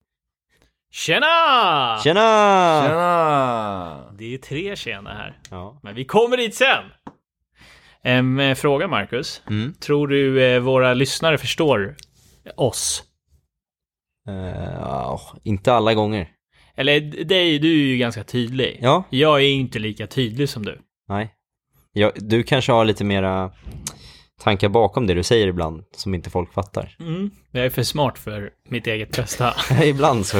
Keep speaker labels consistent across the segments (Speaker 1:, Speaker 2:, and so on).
Speaker 1: Ah. Tjena!
Speaker 2: Tjena!
Speaker 3: Tjena!
Speaker 1: Det är tre tjena här.
Speaker 2: Ja.
Speaker 1: Men vi kommer dit sen! En eh, fråga, Marcus.
Speaker 2: Mm.
Speaker 1: Tror du eh, våra lyssnare förstår oss?
Speaker 2: Eh, ja, inte alla gånger.
Speaker 1: Eller d- dig, du är ju ganska tydlig.
Speaker 2: Ja,
Speaker 1: Jag är ju inte lika tydlig som du.
Speaker 2: nej. Ja, du kanske har lite mera tankar bakom det du säger ibland som inte folk fattar.
Speaker 1: Mm. Jag är för smart för mitt eget bästa.
Speaker 2: ibland så...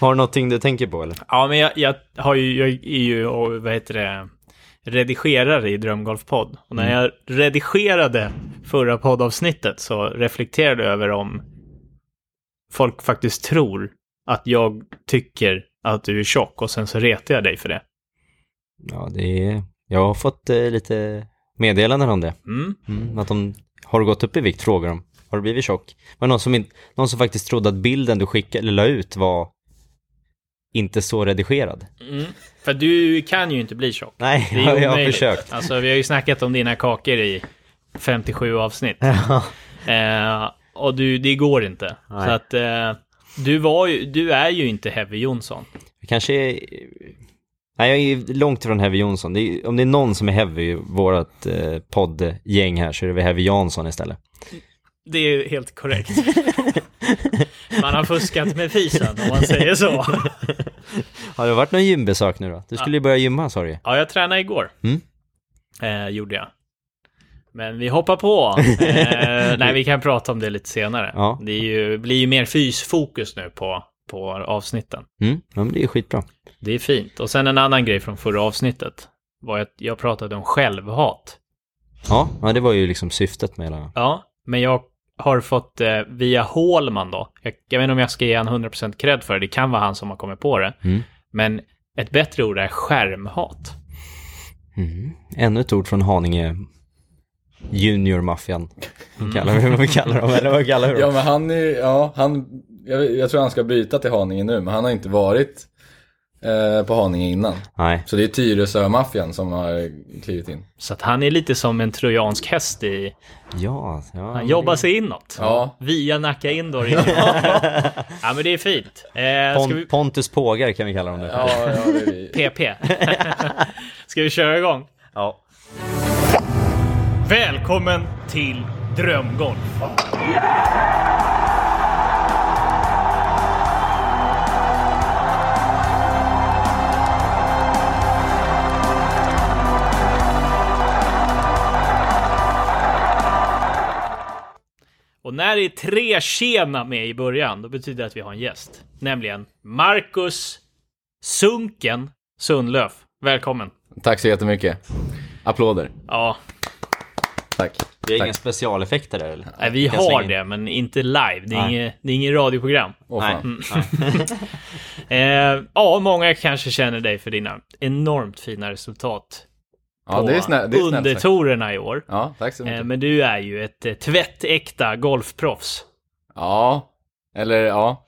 Speaker 2: har du någonting du tänker på eller?
Speaker 1: ja, men jag, jag, har ju, jag är ju, och vad heter det, redigerare i Drömgolfpodd. Och när jag redigerade förra poddavsnittet så reflekterade jag över om folk faktiskt tror att jag tycker att du är tjock och sen så retar jag dig för det.
Speaker 2: Ja, det är... Jag har fått eh, lite meddelanden om det.
Speaker 1: Mm.
Speaker 2: Mm, att de har du gått upp i vikt, frågar de. Har du blivit tjock? Var det någon som, inte, någon som faktiskt trodde att bilden du skickade, eller la ut var inte så redigerad?
Speaker 1: För du kan ju inte bli tjock.
Speaker 2: Nej,
Speaker 1: Mm. Det är
Speaker 2: jag har
Speaker 1: omöjligt.
Speaker 2: försökt.
Speaker 1: Alltså, vi har ju snackat om dina kakor i 57 avsnitt.
Speaker 2: Ja.
Speaker 1: Eh, och du, det går inte.
Speaker 2: Nej.
Speaker 1: Så att eh, du, var ju, du är ju inte Heavy Jonsson.
Speaker 2: Jag kanske är... Nej, jag är långt ifrån Heavy Jonsson. Det är, om det är någon som är Heavy i vårt eh, poddgäng här så är det väl Heavy Jansson istället.
Speaker 1: Det är helt korrekt. Man har fuskat med fisen om man säger så.
Speaker 2: Har det varit någon gymbesök nu då? Du skulle ju börja gymma sa du ju.
Speaker 1: Ja, jag tränade igår.
Speaker 2: Mm.
Speaker 1: Eh, gjorde jag. Men vi hoppar på. Eh, nej, vi kan prata om det lite senare.
Speaker 2: Ja.
Speaker 1: Det är ju, blir ju mer fysfokus nu på, på avsnitten.
Speaker 2: Mm, ja, men det är ju skitbra.
Speaker 1: Det är fint. Och sen en annan grej från förra avsnittet var att jag pratade om självhat.
Speaker 2: Ja, ja, det var ju liksom syftet med hela...
Speaker 1: Ja, men jag har fått eh, via Hålman då. Jag, jag vet inte om jag ska ge han 100% cred för det. Det kan vara han som har kommit på det.
Speaker 2: Mm.
Speaker 1: Men ett bättre ord är skärmhat.
Speaker 2: Mm. Ännu ett ord från Haninge Junior-maffian. Kallar vi vad vi kallar dem, eller vad kallar vi
Speaker 3: Mm. Ja
Speaker 2: dem?
Speaker 3: men han är ja han, jag, jag tror han ska byta till Haninge nu, men han har inte varit eh, på Haninge innan.
Speaker 2: Nej,
Speaker 3: Så det är Tyresö-maffian som har klivit in.
Speaker 1: Så att han är lite som en trojansk häst i...
Speaker 2: ja, ja.
Speaker 1: Han jobbar sig inåt.
Speaker 3: Ja.
Speaker 1: Via Nacka Indoor. ja, men det är fint. Eh, ska
Speaker 2: Pon-
Speaker 1: vi...
Speaker 2: Pontus Pågar kan vi kalla dem nu.
Speaker 3: Ja, ja, det är vi.
Speaker 1: PP. ska vi köra igång?
Speaker 2: Ja.
Speaker 1: Välkommen till Drömgolf. Och när det är tre tjena med i början, då betyder det att vi har en gäst. Nämligen Marcus Sunken Sundlöf. Välkommen.
Speaker 3: Tack så jättemycket. Applåder.
Speaker 1: Ja,
Speaker 3: Tack.
Speaker 2: Det är
Speaker 3: Tack.
Speaker 2: inga specialeffekter där eller?
Speaker 1: Nej, vi
Speaker 2: Jag slänger
Speaker 1: har
Speaker 2: in.
Speaker 1: det, men inte live. Det är,
Speaker 2: Nej.
Speaker 1: inget, det är inget radioprogram.
Speaker 3: Åh,
Speaker 2: Nej.
Speaker 3: fan.
Speaker 1: Eh, ja, många kanske känner dig för dina enormt fina resultat
Speaker 3: Ja, det är snällt. Det är
Speaker 1: under
Speaker 3: snällt sagt.
Speaker 1: tourerna i år.
Speaker 3: Ja, tack så
Speaker 1: Eh,
Speaker 3: mycket.
Speaker 1: men du är ju ett eh, tvättäkta golfproffs.
Speaker 3: Ja, eller ja.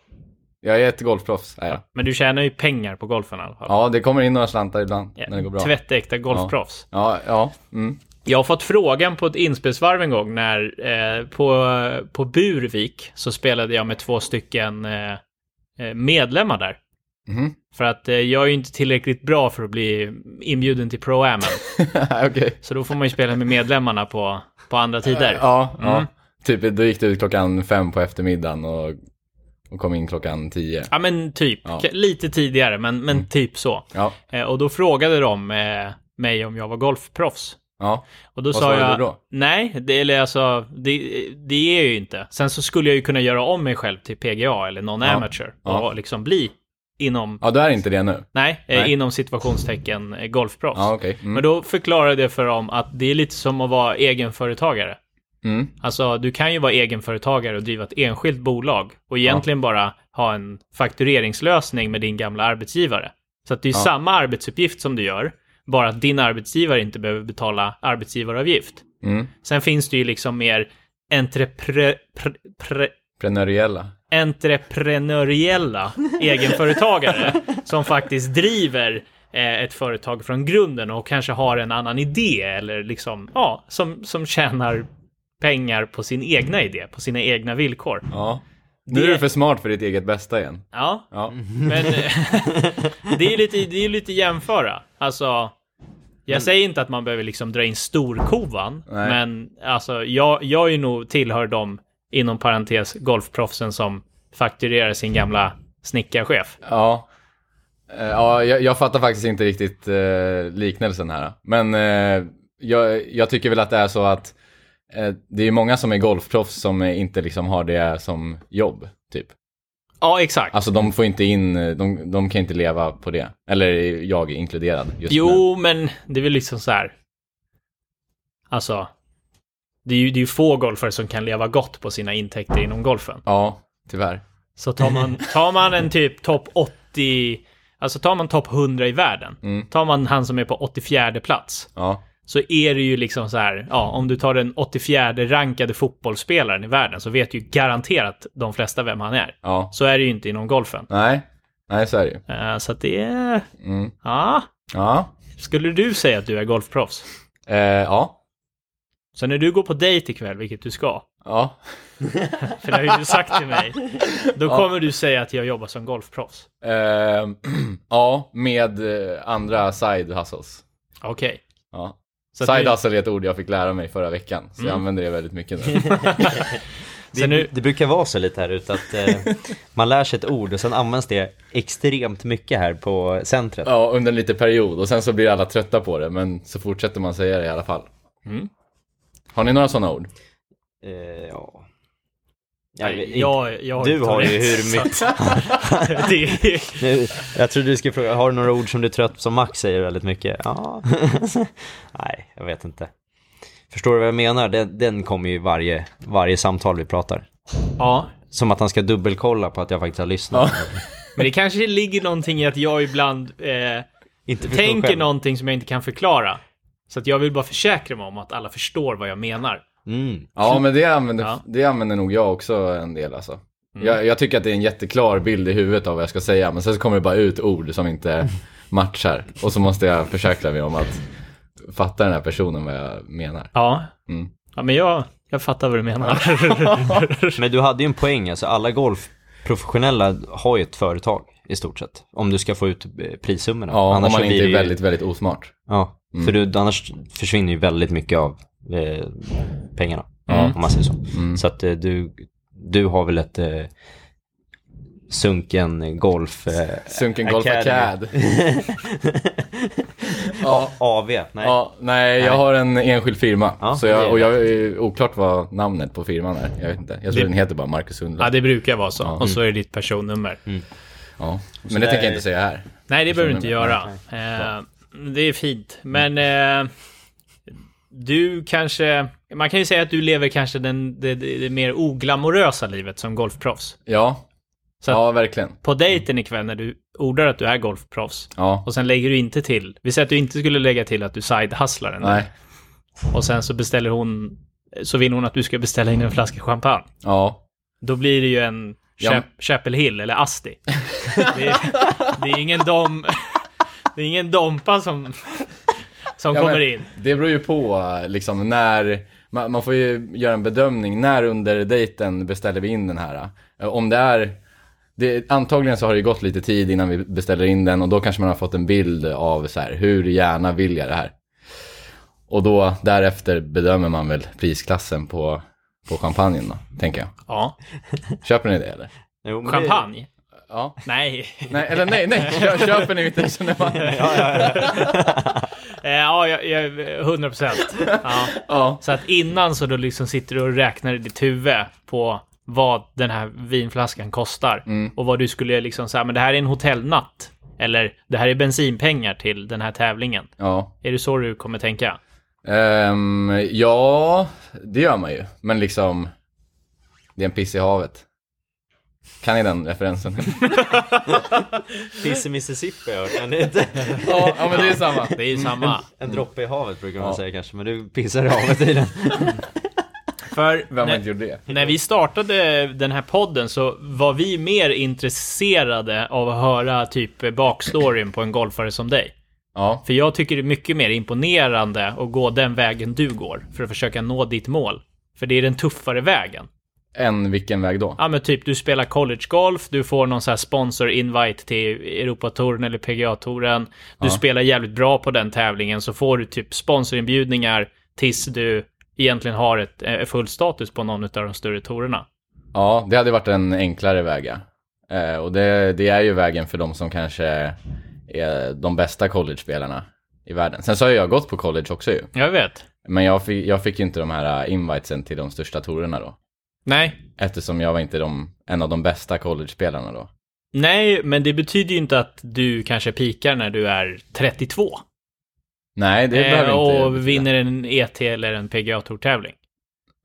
Speaker 3: Jag är ett golfproffs. är jag.
Speaker 1: Men du tjänar ju pengar på golfen i alla fall.
Speaker 3: Ja, det kommer in några slantar ibland
Speaker 1: Ja,
Speaker 3: när det går bra.
Speaker 1: Tvättäkta golfproffs.
Speaker 3: Ja, ja. Mm.
Speaker 1: Jag har fått frågan på ett inspelsvarv en gång när eh, på, på Burvik så spelade jag med två stycken eh, eh, medlemmar där.
Speaker 3: Mhm.
Speaker 1: För att eh, jag är ju inte tillräckligt bra för att bli inbjuden till pro Am.
Speaker 3: Okej.
Speaker 1: Så då får man ju spela med medlemmarna på, på andra tider.
Speaker 3: Ja,
Speaker 1: Mm.
Speaker 3: ja. Typ, då gick du ut klockan fem på eftermiddagen och, och kom in klockan tio.
Speaker 1: Ja men typ,
Speaker 3: Ja. Mm.
Speaker 1: K- lite tidigare men, men typ så.
Speaker 3: Ja,
Speaker 1: Eh, och då frågade de eh, mig om jag var golfproffs.
Speaker 3: ja.
Speaker 1: Och då
Speaker 3: Vad
Speaker 1: sa
Speaker 3: svarade
Speaker 1: jag,
Speaker 3: du då?
Speaker 1: nej, det, eller alltså, det, det är jag ju inte. Sen så skulle jag ju kunna göra om mig själv till PGA eller någon amateur
Speaker 3: Ja.
Speaker 1: och liksom bli inom,
Speaker 3: Ja, du är inte det nu?
Speaker 1: nej, eh,
Speaker 3: Nej.
Speaker 1: inom situationstecken eh, golfproffs.
Speaker 3: Ja, okej. Mm.
Speaker 1: Men då förklarade jag för dem att det är lite som att vara egenföretagare.
Speaker 3: Mm.
Speaker 1: Alltså, du kan ju vara egenföretagare och driva ett enskilt bolag och egentligen bara ha en faktureringslösning med din gamla arbetsgivare. Så att det är samma arbetsuppgift som du gör, bara att din arbetsgivare inte behöver betala arbetsgivaravgift.
Speaker 3: Mm.
Speaker 1: Sen finns det ju liksom mer entrepre, pre, pre,
Speaker 3: Prenöriella.
Speaker 1: entreprenöriella egenföretagare som faktiskt driver eh, ett företag från grunden och kanske har en annan idé eller liksom, ja, som, som tjänar pengar på sin egna idé, på sina egna villkor.
Speaker 3: Ja. Nu är du för smart för ditt eget bästa igen.
Speaker 1: Ja,
Speaker 3: Ja.
Speaker 1: men eh, det är ju lite, det är ju lite jämföra. Alltså, jag säger inte att man behöver liksom dra in storkovan,
Speaker 3: Nej.
Speaker 1: men alltså jag, jag är ju nog tillhör de, inom parentes, golfproffsen som fakturerar sin gamla snickarchef.
Speaker 3: Ja. Eh, Ja, jag, jag fattar faktiskt inte riktigt eh, liknelsen här. Men eh, jag, jag tycker väl att det är så att eh, det är många som är golfproffs som eh, inte liksom har det som jobb, typ.
Speaker 1: Ja, exakt.
Speaker 3: Alltså de får inte in, eh, de, de kan inte leva på det. Eller jag inkluderad just nu.
Speaker 1: Jo, men det är väl liksom så här. Alltså, det är ju, det är ju få golfare som kan leva gott på sina intäkter inom golfen.
Speaker 3: Ja, tyvärr.
Speaker 1: Så tar man, tar man en typ topp 80, alltså tar man topp 100 i världen, tar man han som är på 84 plats,
Speaker 3: Ja,
Speaker 1: så är det ju liksom så här, ja, om du tar den 84 rankade fotbollsspelaren i världen så vet ju garanterat de flesta vem han är.
Speaker 3: ja.
Speaker 1: Så är det ju inte inom golfen.
Speaker 3: Nej, nej så är det ju.
Speaker 1: Eh, Så att det är,
Speaker 3: Mm.
Speaker 1: ja,
Speaker 3: Ja.
Speaker 1: skulle du säga att du är golfproffs?
Speaker 3: Eh, ja.
Speaker 1: Så när du går på dejt ikväll, vilket du ska,
Speaker 3: Ja.
Speaker 1: för det har ju du sagt till mig, då kommer du säga att jag jobbar som golfproffs.
Speaker 3: Eh, ja, med eh, andra side hustles.
Speaker 1: Okej.
Speaker 3: Ja.
Speaker 1: Så att Mm.
Speaker 3: Side
Speaker 1: nu-
Speaker 3: hustle är ett ord jag fick lära mig förra veckan, så jag använder det väldigt mycket nu.
Speaker 2: Det,
Speaker 1: Så nu-
Speaker 2: det brukar vara så lite här ute att eh, man lär sig ett ord och sen används det extremt mycket här på centret.
Speaker 3: ja, under en liten period och sen så blir alla trötta på det, men så fortsätter man säga det i alla fall.
Speaker 1: Mm.
Speaker 3: Har ni några sådana ord?
Speaker 2: Eh, ja. Jag vet
Speaker 1: Nej,
Speaker 2: inte.
Speaker 1: jag, jag
Speaker 2: du har ju
Speaker 1: tourette,
Speaker 2: hur mycket...
Speaker 1: så att- det är,
Speaker 2: Nu, jag trodde du skulle fråga, har du några ord som du är trött på som Max säger väldigt mycket? Ja. Nej, jag vet inte. Förstår du vad jag menar? Den, den kommer ju i varje, varje samtal vi pratar.
Speaker 1: ja,
Speaker 2: Som att han ska dubbelkolla på att jag faktiskt har lyssnat.
Speaker 1: men det kanske ligger någonting i att jag ibland eh,
Speaker 2: Inte förstår
Speaker 1: tänker
Speaker 2: själv.
Speaker 1: någonting som jag inte kan förklara. Så att jag vill bara försäkra mig om att alla förstår vad jag menar.
Speaker 2: Mm.
Speaker 3: Ja, men det använder,
Speaker 1: Ja.
Speaker 3: det använder nog jag också en del alltså. Jag, jag tycker att det är en jätteklar bild i huvudet av vad jag ska säga, men sen så kommer det bara ut ord som inte matchar. Och så måste jag försäkra mig om att fatta den här personen vad jag menar.
Speaker 1: Ja,
Speaker 3: Mm.
Speaker 1: ja men jag, jag fattar vad du menar.
Speaker 2: Men du hade ju en poäng, alltså alla golfprofessionella har ju ett företag i stort sett. Om du ska få ut eh, prissummorna.
Speaker 3: Ja, om man
Speaker 2: så blir
Speaker 3: inte
Speaker 2: det
Speaker 3: är
Speaker 2: ju-
Speaker 3: väldigt, Mm. väldigt osmart.
Speaker 2: Ja, för du, annars försvinner ju väldigt mycket av eh, pengarna. Om man säger så.
Speaker 3: Mm.
Speaker 2: Så att eh, du, du har väl ett eh, sunken golf... Eh,
Speaker 3: Sunken Golf Acad.
Speaker 2: Academy.
Speaker 3: ja.
Speaker 2: AV? Nej.
Speaker 3: Ja, nej, jag har en enskild firma.
Speaker 2: Ja,
Speaker 3: så
Speaker 2: det
Speaker 3: jag,
Speaker 2: är
Speaker 3: och jag är oklart vad namnet på firman är. Jag vet inte. Jag tror
Speaker 1: Det-
Speaker 3: den heter bara Marcus Sundlund.
Speaker 1: ja,
Speaker 3: Ja,
Speaker 1: det brukar vara så. Och så är det ditt personnummer.
Speaker 3: Men det tänker jag
Speaker 2: där-
Speaker 3: inte säga här.
Speaker 1: Nej, det behöver du inte göra. Eh, det är fint. Men eh, du kanske... Man kan ju säga att du lever kanske den, det, det, det mer oglamorösa livet som golfproffs.
Speaker 3: Ja,
Speaker 1: Så att-
Speaker 3: ja verkligen.
Speaker 1: På dejten ikväll när du ordar att du är golfproffs
Speaker 3: Ja.
Speaker 1: och sen lägger du inte till. Vi säger att du inte skulle lägga till att du sidehustlar henne.
Speaker 3: Nej.
Speaker 1: Och sen så beställer hon... Så vill hon att du ska beställa in en flaska champagne.
Speaker 3: Ja.
Speaker 1: Då blir det ju en
Speaker 3: Ja, men-
Speaker 1: Chap- Chapel Hill eller Asti. Det är, det är ingen dom... Det är ingen Dompa som, som
Speaker 3: Ja, men
Speaker 1: kommer in.
Speaker 3: Det beror ju på liksom när, man, man får ju göra en bedömning, när under dejten beställer vi in den här? Eh, Om det är, det, antagligen så har det ju gått lite tid innan vi beställer in den och då kanske man har fått en bild av så här, hur gärna vill jag det här? Och då därefter bedömer man väl prisklassen på, på champagnen då, tänker jag.
Speaker 1: Ja.
Speaker 3: Köper ni det eller?
Speaker 2: Jo, men det-
Speaker 1: Champagne?
Speaker 3: Ja.
Speaker 1: Nej.
Speaker 3: Nej, eller nej, nej, kö- köper ni mitt resonemang?
Speaker 1: Eh, Ja, jag, jag, 100 procent. Ja.
Speaker 3: Ja.
Speaker 1: Så att innan så då liksom sitter du och räknar i ditt huvud på vad den här vinflaskan kostar.
Speaker 3: Mm.
Speaker 1: Och vad du skulle liksom säga, men det här är en hotellnatt. Eller det här är bensinpengar till den här tävlingen.
Speaker 3: Ja.
Speaker 1: Är det så du kommer tänka?
Speaker 3: Ehm, ja, det gör man ju. Men liksom, det är en piss i havet. Kan ni den referensen?
Speaker 2: Piss i Mississippi har jag hört, men det är inte...
Speaker 3: ja, ja, men det är samma.
Speaker 1: Det är ju samma.
Speaker 2: En droppe i havet brukar man
Speaker 3: Ja.
Speaker 2: säga kanske, men du pissar i havet i den.
Speaker 1: För
Speaker 3: Vem har
Speaker 1: när-
Speaker 3: inte gjort det?
Speaker 1: När vi startade den här podden så var vi mer intresserade av att höra typ bakstoryn på en golfare som dig.
Speaker 3: Ja,
Speaker 1: För jag tycker det är mycket mer imponerande att gå den vägen du går för att försöka nå ditt mål. För det är den tuffare vägen.
Speaker 3: än vilken väg då?
Speaker 1: Ja men typ du spelar collegegolf, du får någon sån här sponsor-invite till Europatouren eller PGA-touren. Du spelar jävligt bra på den tävlingen så får du typ sponsorinbjudningar tills du egentligen har ett, eh, full status på någon av de större tourerna.
Speaker 3: Ja, det hade varit en enklare väg. ja. Eh, och det, det är ju vägen för de som kanske är de bästa college-spelarna i världen. Sen så har jag gått på college också ju.
Speaker 1: Jag vet.
Speaker 3: Men jag fick, jag fick ju inte de här eh, invitesen till de största torerna då.
Speaker 1: Nej,
Speaker 3: Eftersom jag var inte de, en av de bästa college-spelarna då.
Speaker 1: Nej, men det betyder ju inte att du kanske pikar när du är 32.
Speaker 3: Nej, det
Speaker 1: eh,
Speaker 3: behöver inte
Speaker 1: och
Speaker 3: betyda.
Speaker 1: vinner en ET eller en pga tävling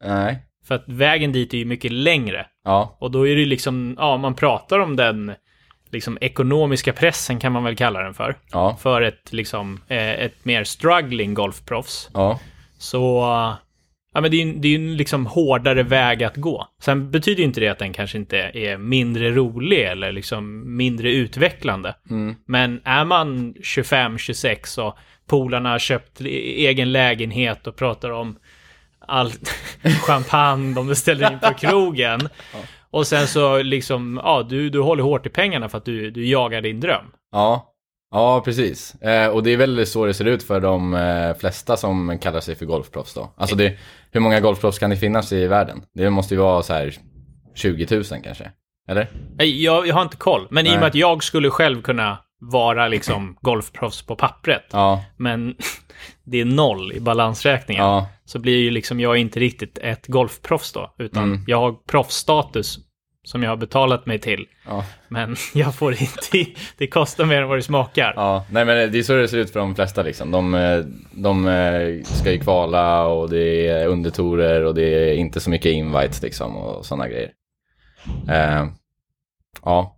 Speaker 3: Nej,
Speaker 1: För att vägen dit är ju mycket längre.
Speaker 3: ja.
Speaker 1: Och då är det ju liksom, ja, man pratar om den liksom ekonomiska pressen kan man väl kalla den för.
Speaker 3: Ja.
Speaker 1: För ett liksom, eh, ett mer struggling golfproffs.
Speaker 3: Ja.
Speaker 1: Så, ja men det är ju det är ju en liksom hårdare väg att gå. Sen betyder ju inte det att den kanske inte är mindre rolig eller liksom mindre utvecklande. Men är man 25, 26 och polarna har köpt e- egen lägenhet och pratar om all champagne de beställer in på krogen. Och sen så liksom, ja du, du håller hårt i pengarna för att du, du jagar din dröm.
Speaker 3: Ja, ja precis. Eh, och det är väl så det ser ut för de eh, flesta som kallar sig för golfproffs då. Alltså det, hur många golfproffs kan det finnas i världen? Det måste ju vara så här 20 000 kanske. Eller?
Speaker 1: Nej, Jag, jag har inte koll, men i och
Speaker 3: Nej.
Speaker 1: med att jag skulle själv kunna vara liksom golfproffs på pappret.
Speaker 3: Ja,
Speaker 1: men det är noll i balansräkningen.
Speaker 3: ja,
Speaker 1: Så blir ju liksom jag inte riktigt ett golfproffs då, utan
Speaker 3: Mm.
Speaker 1: jag har proffsstatus som jag har betalat mig till.
Speaker 3: ja,
Speaker 1: Men jag får inte, det kostar mer än vad det smakar.
Speaker 3: ja. Nej men det är så det ser ut för de flesta liksom. De, eh, de eh, ska ju kvala och det är undertorer och det är inte så mycket invites liksom och sådana grejer. Eh, ja,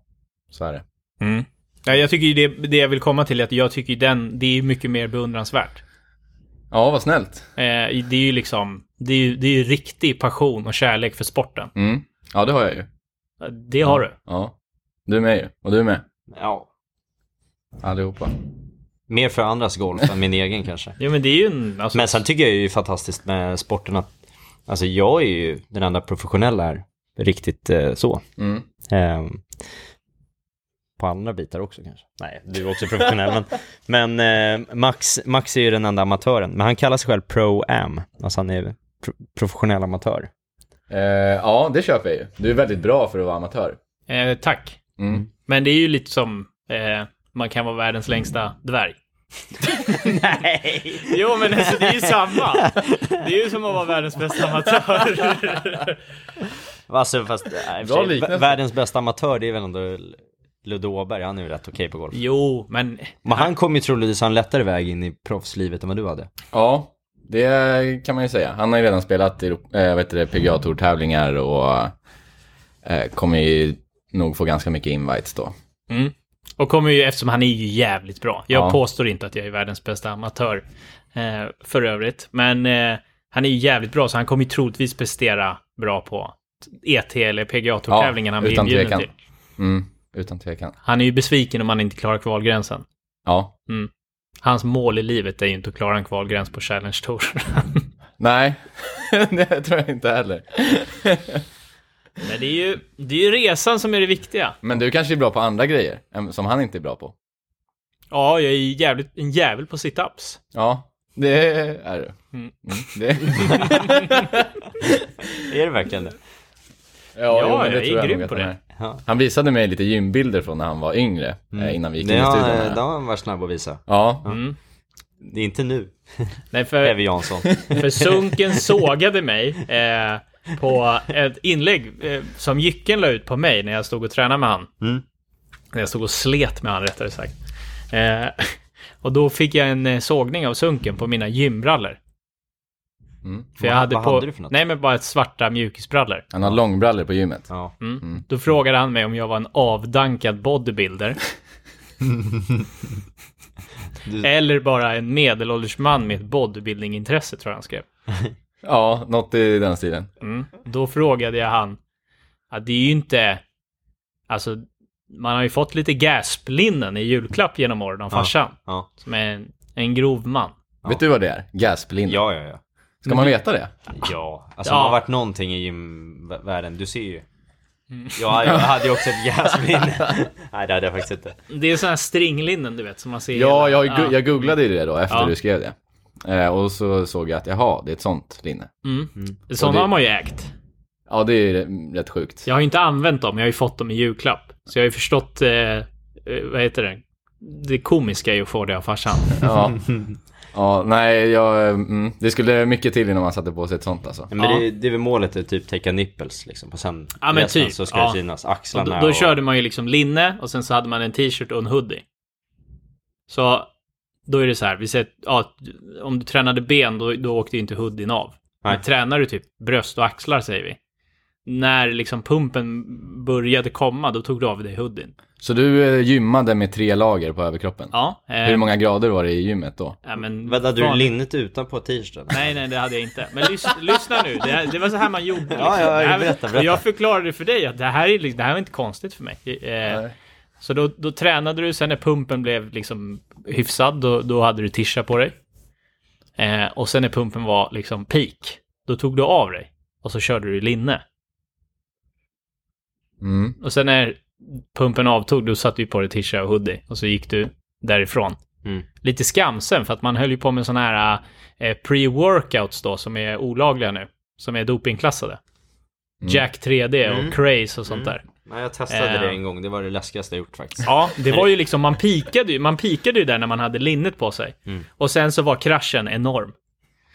Speaker 3: så är det.
Speaker 1: Mm. Ja, jag tycker ju det, det jag vill komma till är att jag tycker ju den, det är mycket mer beundransvärt.
Speaker 3: Ja, vad snällt.
Speaker 1: Eh, det är ju liksom, det är ju, det är ju riktig passion och kärlek för sporten.
Speaker 3: Mm. Ja, det har jag ju.
Speaker 1: Det har du.
Speaker 3: Ja, du är med ju. Och du är med.
Speaker 2: Ja.
Speaker 3: Allihopa.
Speaker 2: Mer för andras golf än min egen kanske.
Speaker 1: Jo men det är ju en, alltså,
Speaker 2: Men sen tycker jag ju det är fantastiskt med sporten att, alltså jag är ju den enda professionella här, riktigt eh, så.
Speaker 3: Mm.
Speaker 2: Ehm, på andra bitar också kanske. Nej, du är också professionell. men men eh, Max, Max är ju den enda amatören. Men han kallar sig själv Pro-Am. Alltså han är pro professionell amatör.
Speaker 3: Eh, ja, det köper jag ju. Du är väldigt bra för att vara amatör.
Speaker 1: eh, tack.
Speaker 3: Mm.
Speaker 1: Men det är ju lite som, eh, man kan vara världens längsta dvärg.
Speaker 2: Nej!
Speaker 1: Jo, men alltså, det är ju samma. Det är ju som att vara världens bästa amatör.
Speaker 2: Alltså fast, nej, i och för
Speaker 3: Bra
Speaker 2: sig,
Speaker 3: liknelse.
Speaker 2: vä- världens bästa amatör det är väl ändå Ludde Åberg, han är ju rätt okej på golf.
Speaker 1: Jo, men...
Speaker 2: Men han kommer ju troligtvis ha en lättare väg in i proffslivet än vad du hade.
Speaker 3: Ja, det kan man ju säga. Han har ju redan spelat i eh, vad heter det, pga tävlingar och eh, kommer ju nog få ganska mycket invites då.
Speaker 1: Mm. Och kommer ju, eftersom han är ju jävligt bra. Jag
Speaker 3: Ja.
Speaker 1: påstår inte att jag är världens bästa amatör eh, för övrigt. Men eh, han är ju jävligt bra, så han kommer ju troligtvis prestera bra på ET eller PGA-tävlingen han blir
Speaker 3: utan
Speaker 1: inbjuden
Speaker 3: tvekan.
Speaker 1: till.
Speaker 3: Mm, utan tvekan.
Speaker 1: Han är ju besviken om han inte klarar kvalgränsen.
Speaker 3: Ja.
Speaker 1: Hans mål i livet är ju inte att klara en kvalgräns på Challenge Tour.
Speaker 3: Nej, det tror jag inte heller.
Speaker 1: men det är, ju, det är ju resan som är det viktiga.
Speaker 3: Men du kanske är bra på andra grejer em, som han inte är bra på.
Speaker 1: Ja, jag är ju jävligt, en jävel på sit-ups.
Speaker 3: Ja, det är du. Mm, det...
Speaker 2: Är det verkligen det?
Speaker 3: Ja,
Speaker 1: Ja,
Speaker 3: jo, men
Speaker 1: jag är grym
Speaker 3: nog
Speaker 1: på
Speaker 3: att han
Speaker 1: det.
Speaker 3: är.
Speaker 2: Ja.
Speaker 3: Han visade mig lite gymbilder från när han var yngre,
Speaker 2: Mm.
Speaker 3: eh, innan vi gick in i
Speaker 2: Det
Speaker 3: studion.
Speaker 2: har,
Speaker 3: här.
Speaker 2: det har han varit snabb att visa.
Speaker 3: Ja,
Speaker 2: Det är inte nu,
Speaker 1: Nej, för,
Speaker 2: Evy Jansson.
Speaker 1: För Sunken sågade mig eh, på ett inlägg eh, som Jycken la ut på mig när jag stod och tränade med han.
Speaker 2: Mm.
Speaker 1: När jag stod och slet med han rättare sagt. Eh, och då fick jag en eh, sågning av Sunken på mina gymbrallor.
Speaker 3: Mm.
Speaker 1: För jag
Speaker 2: Vad-
Speaker 1: hade
Speaker 2: vad
Speaker 1: på,
Speaker 2: hade du för något?
Speaker 1: Nej men bara ett svarta mjukisbrallor.
Speaker 3: han har långbrallor på gymmet.
Speaker 2: Ja.
Speaker 1: Mm. Då frågade han mig om jag var en avdankad bodybuilder.
Speaker 2: Du-
Speaker 1: Eller bara en medelålders man med ett bodybuildingintresse tror jag han skrev.
Speaker 3: Ja, något i den stilen.
Speaker 1: Mm. Då frågade jag han. Ja, det är ju inte... Alltså, man har ju fått lite gasplinnen i julklapp genom åren av farsan.
Speaker 2: Ja.
Speaker 1: Som är en, en grov man.
Speaker 2: Ja.
Speaker 3: Vet du vad det är? Gasplinne.
Speaker 2: ja, ja, ja.
Speaker 3: Ska man veta det?
Speaker 2: Ja, alltså
Speaker 1: Ja.
Speaker 2: det har varit någonting i gymvärlden, du ser ju.
Speaker 1: Mm.
Speaker 2: Ja, jag hade ju också ett gästminne. Nej, det hade jag faktiskt inte.
Speaker 1: Det är sådana här stringlinnen du vet som man ser.
Speaker 3: Ja, jag,
Speaker 1: Ja.
Speaker 3: gu- jag googlade ju det då efter
Speaker 1: Ja.
Speaker 3: du skrev det. Eh, och så såg jag att jaha, det är ett sånt linne.
Speaker 1: Mm. Sådana
Speaker 3: Och det-
Speaker 1: har man ju ägt.
Speaker 3: Ja, det är ju rätt sjukt.
Speaker 1: Jag har ju inte använt dem, jag har ju fått dem i julklapp. Så jag har ju förstått, eh, eh, vad heter det? Det komiska i att få det av farsan.
Speaker 3: Ja. ja, nej, jag, mm, det skulle mycket till innan man satte på sig ett sånt alltså.
Speaker 2: Men
Speaker 1: Ja.
Speaker 2: det, det är väl målet, att typ täcka nipples liksom. Och sen
Speaker 1: Ja, men
Speaker 2: resten
Speaker 1: typ,
Speaker 2: så ska
Speaker 1: ja.
Speaker 2: det synas
Speaker 1: Och
Speaker 2: axlarna
Speaker 1: då, då körde man ju liksom linne och sen så hade man en t-shirt och en hoodie. Så då är det så här, vi säger, ja, om du tränade ben då, då åkte ju inte hoodien av.
Speaker 2: Nej.
Speaker 1: Men tränar du typ bröst och axlar säger vi. När liksom pumpen började komma då tog du av dig hoodien.
Speaker 3: Så du eh, gymmade med tre lager på överkroppen?
Speaker 1: Ja. eh,
Speaker 3: Hur många grader var det i gymmet då?
Speaker 1: ja, men,
Speaker 2: och... Vänta, hade du
Speaker 1: fan.
Speaker 2: linnet utanpå t-shirten?
Speaker 1: Nej, nej, det hade jag inte. Men lys lyssna nu, det, här, det var så här man gjorde. Liksom.
Speaker 2: Ja, ja,
Speaker 1: Det här-
Speaker 2: berätta, berätta.
Speaker 1: Jag förklarade för dig att det här, är, liksom- det här var inte konstigt för mig. Eh,
Speaker 3: Nej.
Speaker 1: så då, då tränade du, sen när pumpen blev liksom hyfsad, då, då hade du tisha på dig. Eh, och sen när pumpen var liksom peak, då tog du av dig. Och så körde du linne.
Speaker 3: Mm.
Speaker 1: Och sen när pumpen avtog, då satte du på dig tisha och hoodie. Och så gick du därifrån.
Speaker 2: Mm.
Speaker 1: Lite skamsen, för att man höll ju på med sådana här eh, pre-workouts då, som är olagliga nu. Som är dopingklassade. Jack 3D och
Speaker 2: Mm.
Speaker 1: Craze och sånt där.
Speaker 2: Nej, jag testade det
Speaker 1: Eh.
Speaker 2: en gång. Det var det läskigaste jag gjort faktiskt.
Speaker 1: Ja, det var ju liksom, man pikade ju, man pikade ju där när man hade linnet på sig.
Speaker 2: Mm.
Speaker 1: Och sen så var kraschen enorm.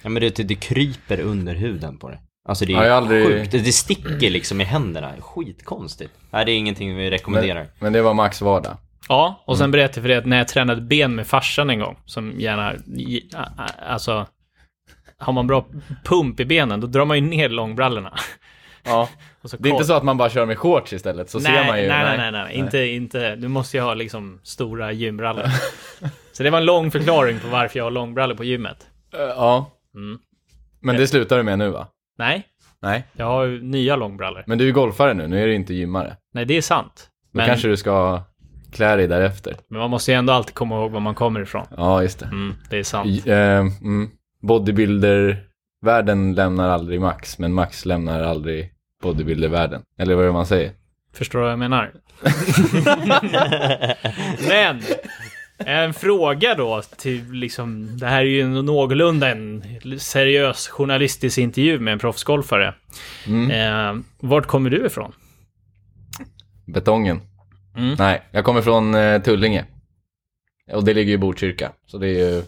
Speaker 2: Ja, men det, det kryper under huden på det. Alltså det
Speaker 3: Ja,
Speaker 2: är
Speaker 3: jag har aldrig-
Speaker 2: sjukt. Det- Det sticker liksom i händerna. Skitkonstigt. Nej, det är ingenting vi rekommenderar.
Speaker 3: Men, men det var Max vardag.
Speaker 1: Ja,
Speaker 3: Mm.
Speaker 1: och sen berättade jag för dig att när jag tränade ben med farsan en gång, som gärna, i- a- a- alltså, har man bra pump i benen, då drar man ju ner långbrallorna.
Speaker 3: Ja.
Speaker 1: Och
Speaker 3: Det är inte så att man bara kör med shorts istället, så ser man ju.
Speaker 1: Nej, nej, nej, nej, Inte, inte. Du måste ju ha liksom stora gymbrallor. så det var en lång förklaring på varför jag har långbrallor på gymmet.
Speaker 3: Eh, Ja.
Speaker 1: Mm.
Speaker 3: Men det slutar du med nu va?
Speaker 1: Nej,
Speaker 3: Nej.
Speaker 1: jag har ju nya långbrallor.
Speaker 3: Men du är ju golfare nu, nu är du inte gymmare.
Speaker 1: Nej, det är sant.
Speaker 3: Då
Speaker 1: Men,
Speaker 3: kanske du ska klä dig därefter.
Speaker 1: men man måste ju ändå alltid komma ihåg var man kommer ifrån.
Speaker 3: Ja, just det.
Speaker 1: Mm, det är sant.
Speaker 3: I- eh, mm. Bodybuilder-världen lämnar aldrig Max, men Max lämnar aldrig bodybuilder-världen. Eller vad är det man säger?
Speaker 1: Förstår du vad jag menar? Men, en fråga då till liksom, det här är ju någorlunda en seriös journalistisk intervju med en proffsgolfare.
Speaker 3: Mm.
Speaker 1: Eh, vart kommer du ifrån?
Speaker 3: Betongen.
Speaker 1: Mm.
Speaker 3: Nej, jag kommer från eh, Tullinge. Och det ligger ju i Botkyrka. Så, det är ju,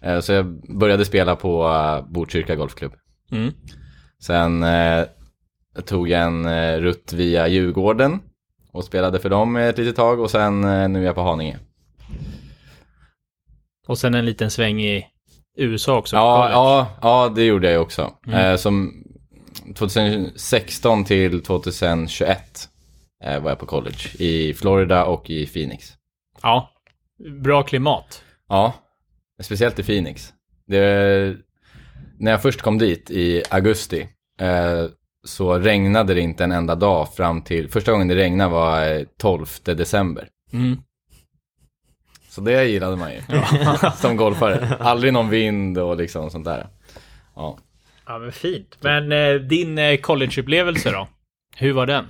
Speaker 3: eh, så jag började spela på eh, Botkyrka Golfklubb.
Speaker 1: Mm.
Speaker 3: Sen eh, tog jag en eh, rutt via Djurgården och spelade för dem ett litet tag och sen eh, nu är jag på Haninge.
Speaker 1: Och sen en liten sväng i USA också.
Speaker 3: Ja,
Speaker 1: College. Mm.
Speaker 3: ja, ja, det gjorde jag ju också. Eh, som 2016 till 2021 eh, var jag på college i Florida och i Phoenix.
Speaker 1: ja. Bra klimat.
Speaker 3: Ja, speciellt i Phoenix. Det, när jag först kom dit i augusti eh, så regnade det inte en enda dag fram till, första gången det regnade var eh, 12 december.
Speaker 1: Mm.
Speaker 3: Så det gillade man ju, som golfare. Aldrig någon vind och liksom sånt där. Ja.
Speaker 1: Ja, men fint. Men eh, din eh, collegeupplevelse då? Hur var den?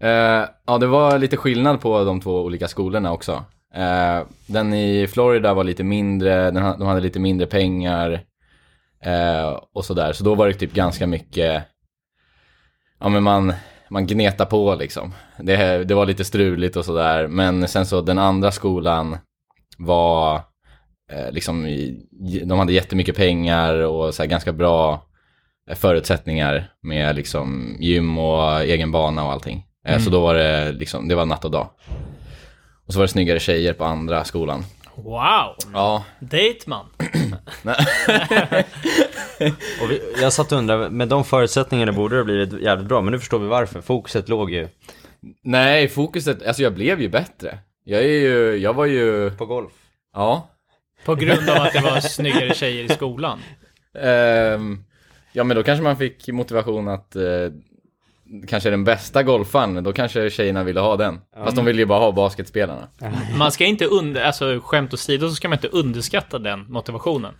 Speaker 3: Eh, ja, det var lite skillnad på de två olika skolorna också. Eh, den i Florida var lite mindre, den, ha- de hade lite mindre pengar eh, och sådär. Så då var det typ ganska mycket, ja men man, man gnetade på liksom. Det, det var lite struligt och sådär. Men sen så den andra skolan var, eh, liksom, i- de hade jättemycket pengar och så här ganska bra eh, förutsättningar med liksom gym och egen bana och allting. Eh, Så då var det liksom, det var natt och dag. Och så var det snyggare tjejer på andra skolan.
Speaker 1: Wow!
Speaker 3: Ja.
Speaker 1: Dateman.
Speaker 2: Och vi, jag satt och undrade, med de förutsättningarna borde det blivit jävligt bra, men nu förstår vi varför. Fokuset låg ju
Speaker 3: Nej, fokuset, alltså jag blev ju bättre. Jag är ju, jag var ju,
Speaker 2: på golf.
Speaker 3: ja.
Speaker 1: På grund av att det var snyggare tjejer i skolan.
Speaker 3: Ehm, ja men då kanske man fick motivation att eh, kanske den bästa golfaren, då kanske tjejerna ville ha den. Fast de ville ju bara ha basketspelarna.
Speaker 1: Man ska inte under, alltså skämt åsido så ska man inte underskatta den motivationen.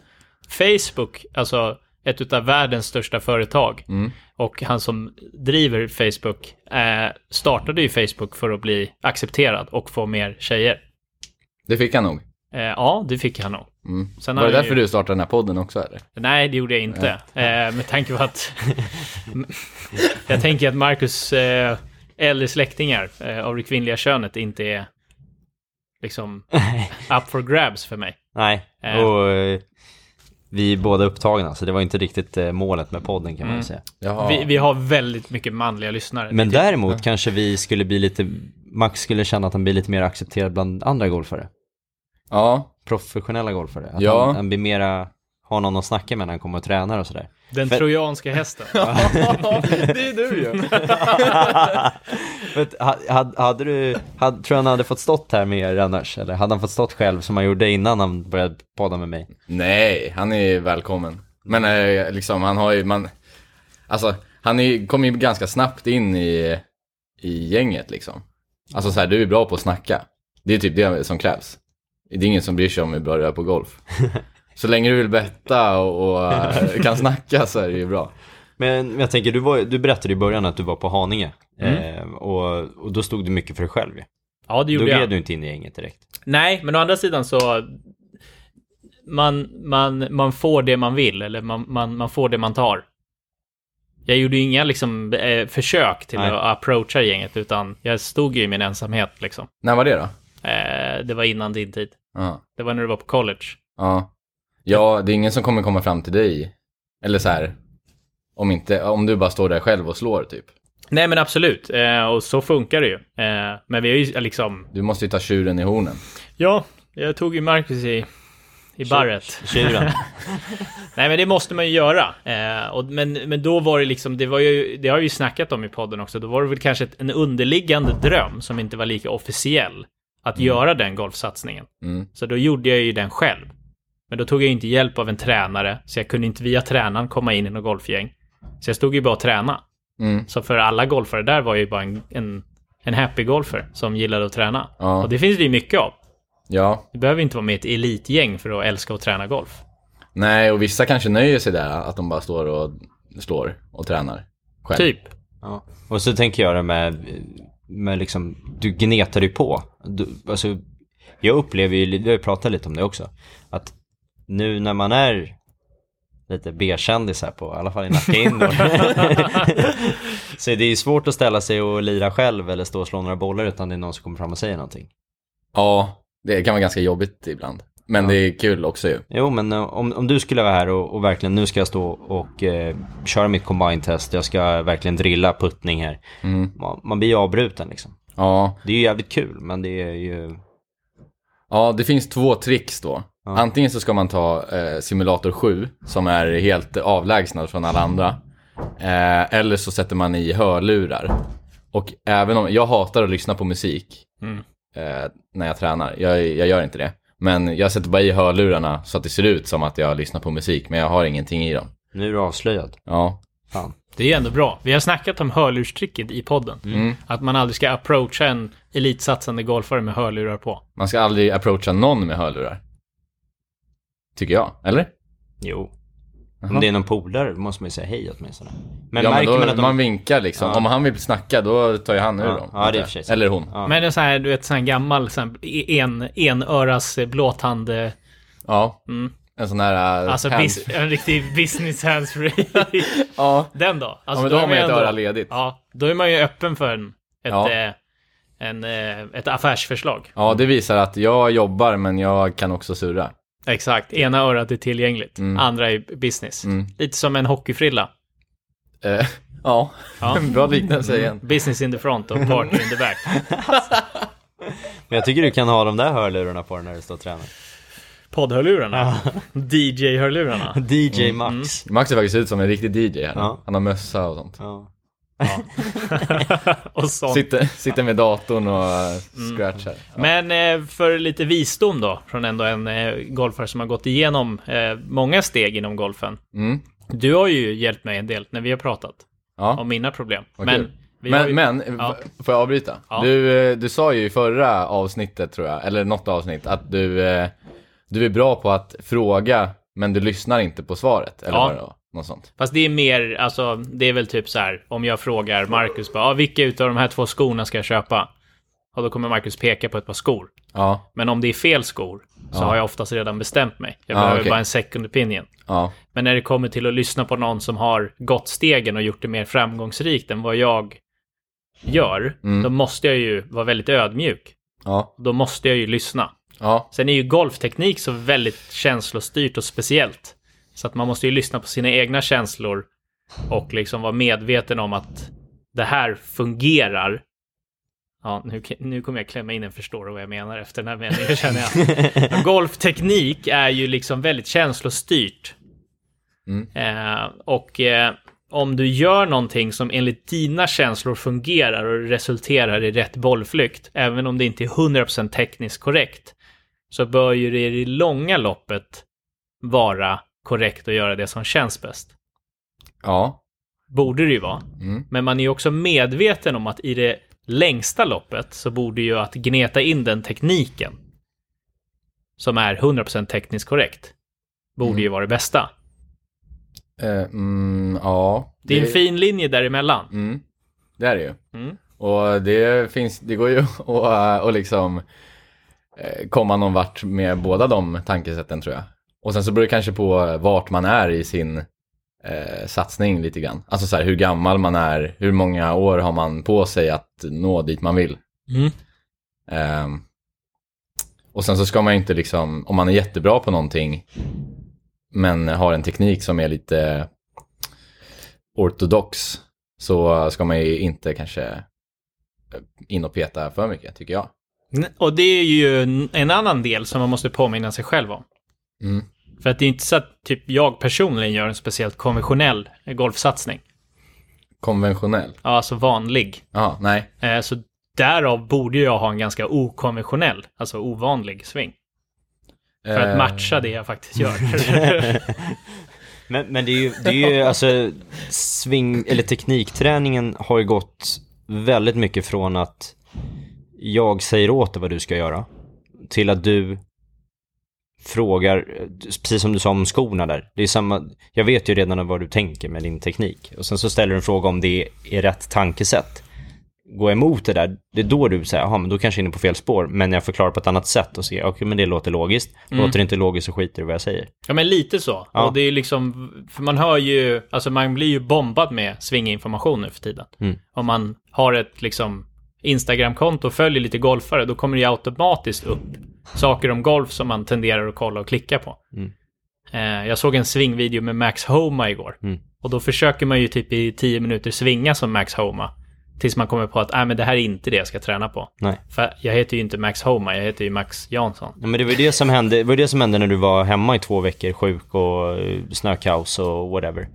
Speaker 1: Facebook, alltså ett utav världens största företag.
Speaker 3: Mm.
Speaker 1: Och han som driver Facebook eh, startade ju Facebook för att bli accepterad och få mer tjejer.
Speaker 3: Det fick han nog.
Speaker 1: Eh, ja, det fick han nog.
Speaker 3: Mm.
Speaker 1: Sen
Speaker 3: Var
Speaker 1: har
Speaker 3: det
Speaker 1: han
Speaker 3: därför
Speaker 1: ju...
Speaker 3: du startade den här podden också eller?
Speaker 1: Nej, det gjorde jag inte. Eh, med tanke på att... jag tänker att Marcus eh, äldre släktingar eh, av det kvinnliga könet inte är liksom up for grabs för mig.
Speaker 2: Nej,
Speaker 1: Eh.
Speaker 2: och eh, vi är båda upptagna, så det var inte riktigt eh, målet med podden kan man ju säga.
Speaker 3: Jaha.
Speaker 1: Vi, vi har väldigt mycket manliga lyssnare.
Speaker 2: Men däremot kanske vi skulle bli lite, Max skulle känna att han blir lite mer accepterad bland andra golfare.
Speaker 3: Ja,
Speaker 2: Professionella golfare. Att
Speaker 3: Ja.
Speaker 2: han, han blir mera, har någon att snacka med när han kommer och tränar och sådär.
Speaker 1: Den
Speaker 2: För-
Speaker 1: trojanska hästen.
Speaker 3: det är du ju.
Speaker 2: Men, ha- hade, hade du, hade, tror du han hade fått stått här med er annars? Eller hade han fått stått själv som han gjorde innan han började podda med mig?
Speaker 3: Nej, han är ju välkommen. Men eh, liksom, han har ju, man, alltså, han är- kom ju ganska snabbt in i, i gänget liksom. Alltså så här, du är bra på att snacka. Det är typ det som krävs. Det är ingen som bryr sig om hur bra du är på golf. Så länge du vill betta och, och eh, kan snacka så är det ju bra.
Speaker 2: Men men jag tänker, du, var, du berättade i början att du var på Haninge.
Speaker 1: Mm.
Speaker 2: Eh, och, och då stod du mycket för dig själv ju.
Speaker 1: Ja, det
Speaker 2: Då
Speaker 1: gjorde
Speaker 2: gled
Speaker 1: jag.
Speaker 2: du inte in i gänget direkt.
Speaker 1: Nej, men å andra sidan så... Man, man, man får det man vill, eller man, man, man får det man tar. Jag gjorde ju inga liksom, eh, försök till
Speaker 2: Nej.
Speaker 1: att approacha gänget, utan jag stod ju i min ensamhet. Liksom.
Speaker 3: När var det då?
Speaker 1: Eh, det var innan din tid.
Speaker 3: Ja.
Speaker 1: Det var när du var på college.
Speaker 3: Ja, ja det är ingen som kommer komma fram till dig. Eller så här, om, inte, om du bara står där själv och slår typ.
Speaker 1: Nej, men absolut. Eh, och så funkar det ju. Eh, men vi är ju liksom...
Speaker 3: Du måste ju ta tjuren i hornen.
Speaker 1: Ja, jag tog ju Marcus i, i barret.
Speaker 2: Tjuren.
Speaker 1: Nej men det måste man ju göra. Eh, och, men, men då var det liksom, det, var ju, det har jag ju snackat om i podden också, då var det väl kanske ett, en underliggande dröm som inte var lika officiell. Att göra den golfsatsningen.
Speaker 3: Mm.
Speaker 1: Så då gjorde jag ju den själv. Men då tog jag ju inte hjälp av en tränare, så jag kunde inte via tränaren komma in i något golfgäng. Så jag stod ju bara och tränade.
Speaker 3: Mm.
Speaker 1: Så för alla golfare där var jag ju bara en, en, en happy-golfer som gillade att träna.
Speaker 3: Ja.
Speaker 1: Och det finns det ju mycket av.
Speaker 3: Ja,
Speaker 1: Du behöver inte vara med i ett elitgäng för att älska att träna golf.
Speaker 3: nej och vissa kanske nöjer sig där att de bara står och slår och tränar. Själv.
Speaker 1: Typ.
Speaker 2: Ja. Och så tänker jag det med, med liksom, du gnetar ju på. Du, alltså, jag upplever ju, vi har ju pratat lite om det också, att nu när man är lite B-kändis här på, i alla fall i Nacka indoor, så är det ju svårt att ställa sig och lira själv eller stå och slå några bollar utan det är någon som kommer fram och säger någonting.
Speaker 3: Ja, det kan vara ganska jobbigt ibland. Men det är kul också ju.
Speaker 2: Jo, men eh, om, om du skulle vara här och, och verkligen, nu ska jag stå och eh, köra mitt combine-test, jag ska verkligen drilla puttning här. Man, man blir ju avbruten liksom.
Speaker 3: Mm. Ja,
Speaker 2: Det är ju jävligt kul, men det är ju...
Speaker 3: ja det finns två tricks då. Antingen så ska man ta eh, simulator 7 som är helt avlägsnad från alla andra. Eh, eller så sätter man i hörlurar. Och även om, jag hatar att lyssna på musik eh, när jag tränar. Jag, jag gör inte det. Men jag sätter bara i hörlurarna så att det ser ut som att jag lyssnar på musik, men jag har ingenting i dem.
Speaker 2: Nu är du avslöjad.
Speaker 3: Ja,
Speaker 2: Fan.
Speaker 1: Det är ju ändå bra. Vi har snackat om hörlurstricket i podden.
Speaker 3: Mm.
Speaker 1: Att man aldrig ska approacha en elitsatsande golfare med hörlurar på.
Speaker 3: Man ska aldrig approacha någon med hörlurar. Tycker jag, eller?
Speaker 2: Jo. Om det är någon polare då måste man ju säga hej åtminstone. Men
Speaker 3: ja, men
Speaker 2: märker
Speaker 3: då,
Speaker 2: man att de...
Speaker 3: man vinkar liksom. Om han vill snacka, då tar ju han ur
Speaker 2: Ja,
Speaker 3: dem.
Speaker 2: ja, det är i och för sig sant.
Speaker 3: Eller hon. Ja.
Speaker 2: Ja.
Speaker 1: Men en sån här, du vet, sån här gammal sån här en, enöras eh, blåtand... eh,
Speaker 3: En sån här... äh,
Speaker 1: Alltså
Speaker 3: hand-
Speaker 1: bis, en riktig business hands-free.
Speaker 3: Ja.
Speaker 1: Den då? Alltså,
Speaker 3: ja, men då har man ju ett
Speaker 1: ändå-
Speaker 3: öra ledigt. Ja.
Speaker 1: Ja, då är man ju öppen för en, ett,
Speaker 3: Ja.
Speaker 1: eh, en, eh, ett affärsförslag.
Speaker 3: det visar att jag jobbar, men jag kan också surra.
Speaker 1: Exakt. Ena örat är tillgängligt,
Speaker 3: Mm.
Speaker 1: andra är business. Lite som en hockeyfrilla.
Speaker 3: Eh, ja, Mm.
Speaker 1: Ja.
Speaker 3: bra liknelse igen.
Speaker 1: Business in the front och partner in the back.
Speaker 2: Men jag tycker du kan ha de där hörlurarna på dig när du står och tränar.
Speaker 1: Poddhörlurarna. DJ-hörlurarna.
Speaker 2: DJ
Speaker 3: Mm,
Speaker 2: Max.
Speaker 3: Max ser faktiskt ut som en riktig DJ här.
Speaker 2: Ja.
Speaker 3: Han har mössa och sånt.
Speaker 2: Ja.
Speaker 1: och sånt.
Speaker 3: Sitter, sitter med datorn och äh, scratchar.
Speaker 1: Men eh, för lite visdom då, från ändå en eh, golfare som har gått igenom eh, många steg inom golfen.
Speaker 3: Mm.
Speaker 1: Du har ju hjälpt mig en del när vi har pratat
Speaker 3: Ja.
Speaker 1: om mina problem.
Speaker 3: Vad
Speaker 1: men
Speaker 3: kul.
Speaker 1: vi har
Speaker 3: Men,
Speaker 1: ju...
Speaker 3: men
Speaker 1: Ja.
Speaker 3: v- får jag avbryta?
Speaker 1: Ja.
Speaker 3: Du, eh, du sa ju i förra avsnittet tror jag, eller något avsnitt, att du, eh, du är bra på att fråga men du lyssnar inte på svaret. Eller
Speaker 1: Ja.
Speaker 3: vad det var. Något sånt.
Speaker 1: Fast det är mer, alltså, det är väl typ så här, om jag frågar Marcus bara, ah, vilka utav de här två skorna ska jag köpa? Och då kommer Marcus peka på ett par skor.
Speaker 3: Ja,
Speaker 1: Men om det är fel skor så har jag oftast redan bestämt mig. Jag
Speaker 3: Ja,
Speaker 1: behöver
Speaker 3: Ah, okej.
Speaker 1: bara en second opinion.
Speaker 3: ja,
Speaker 1: Men när det kommer till att lyssna på någon som har gått stegen och gjort det mer framgångsrikt än vad jag gör, då måste jag ju vara väldigt ödmjuk.
Speaker 3: ja,
Speaker 1: Då måste jag ju lyssna.
Speaker 3: ja,
Speaker 1: Sen är ju golfteknik så väldigt känslostyrt och speciellt. Så att man måste ju lyssna på sina egna känslor och liksom vara medveten om att det här fungerar. Ja, nu, nu kommer jag klämma in en förstår du vad jag menar efter den här meningen känner jag. Men golfteknik är ju liksom väldigt känslostyrt. Eh, och eh, om du gör någonting som enligt dina känslor fungerar och resulterar i rätt bollflykt, även om det inte är 100% tekniskt korrekt, så bör ju det i det långa loppet vara korrekt och göra det som känns bäst.
Speaker 3: ja,
Speaker 1: Borde det ju vara.
Speaker 3: Mm.
Speaker 1: Men man är ju också medveten om att i det längsta loppet så borde ju att gneta in den tekniken som är 100% tekniskt korrekt, borde ju vara det bästa.
Speaker 3: eh, mm, ja.
Speaker 1: Det är en fin linje däremellan.
Speaker 3: Mm, det är det ju.
Speaker 1: Mm.
Speaker 3: Och det finns, det går ju att att- att liksom eh, komma någon vart med båda de tankesätten tror jag. Och sen så beror det kanske på vart man är i sin eh, satsning lite grann. Alltså så här hur gammal man är, hur många år har man på sig att nå dit man vill.
Speaker 1: Mm.
Speaker 3: Ehm, och sen så ska man ju inte liksom, om man är jättebra på någonting men har en teknik som är lite ortodox så ska man ju inte kanske eh, in och peta för mycket, tycker jag.
Speaker 1: N- Och det är ju en- en annan del som man måste påminna sig själv om.
Speaker 3: Mm.
Speaker 1: För att det är inte så att typ jag personligen gör en speciellt konventionell golfsatsning.
Speaker 3: Konventionell?
Speaker 1: Ja, alltså vanlig.
Speaker 3: Ja, nej.
Speaker 1: Eh, Så därav borde jag ha en ganska okonventionell, alltså ovanlig sving. För att
Speaker 3: Eh,
Speaker 1: matcha det jag faktiskt gör.
Speaker 2: Men, men det är ju, det är ju alltså, sving, eller teknikträningen har ju gått väldigt mycket från att jag säger åt dig vad du ska göra, till att du frågar, eh, precis som du sa om skorna där. Det är samma, jag vet ju redan vad du tänker med din teknik. Och sen så ställer du en fråga om det är rätt tankesätt. Gå emot det där, det är då du säger, jaha, men då kanske jag är inne på fel spår, men jag förklarar på ett annat sätt och ser, okej, men det låter logiskt. Låter det inte logiskt så skiter du i vad jag säger.
Speaker 1: ja, men lite så.
Speaker 2: Ja.
Speaker 1: Och det är liksom, för man hör ju, alltså man blir ju bombad med svinginformation nu för tiden. Om man har ett liksom Instagramkonto och följer lite golfare, då kommer det ju automatiskt upp saker om golf som man tenderar att kolla och klicka på. Eh, Jag såg en svingvideo med Max Homa igår. Och då försöker man ju typ i tio minuter svinga som Max Homa. Tills man kommer på att "Nej, men det här är inte det jag ska träna på.
Speaker 2: Nej.
Speaker 1: För jag heter ju inte Max Homa, jag heter ju Max Jansson.
Speaker 2: Ja, men det var ju det som hände, det var ju det som hände när du var hemma i två veckor sjuk och eh, snökaos och whatever.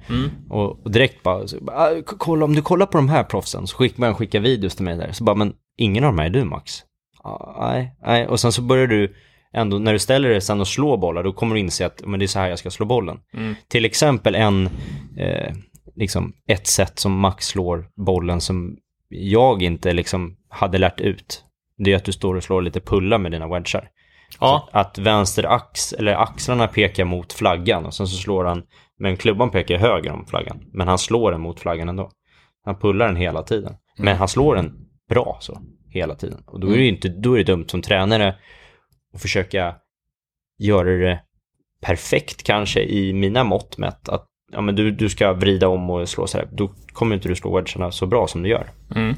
Speaker 2: Och, och direkt bara, så, bara, "Ah, k- kolla, om du kollar på de här proffsen så skick, började han skicka videos till mig där. Så bara, men ingen av de här är du Max. "Ah, Nej, nej. Och sen så börjar du ändå, när du ställer dig sen och slår bollar, då kommer du inse att men det är så här jag ska slå bollen. Till exempel en, eh, liksom ett sätt som Max slår bollen som jag inte liksom hade lärt ut. Det är att du står och slår lite pulla med dina wedgar.
Speaker 1: Ja,
Speaker 2: Så Att vänster ax, eller axlarna pekar mot flaggan och sen så slår han, men klubban pekar höger om flaggan. Men han slår den mot flaggan ändå. Han pullar den hela tiden. Men han slår den bra så, hela tiden. Och då är det ju inte, då är det dumt som tränare att försöka göra det perfekt kanske i mina mått mätt. Att ja, men du, du ska vrida om och slå så här. Då kommer inte du slå wedgarna så bra som du gör.
Speaker 1: Mm.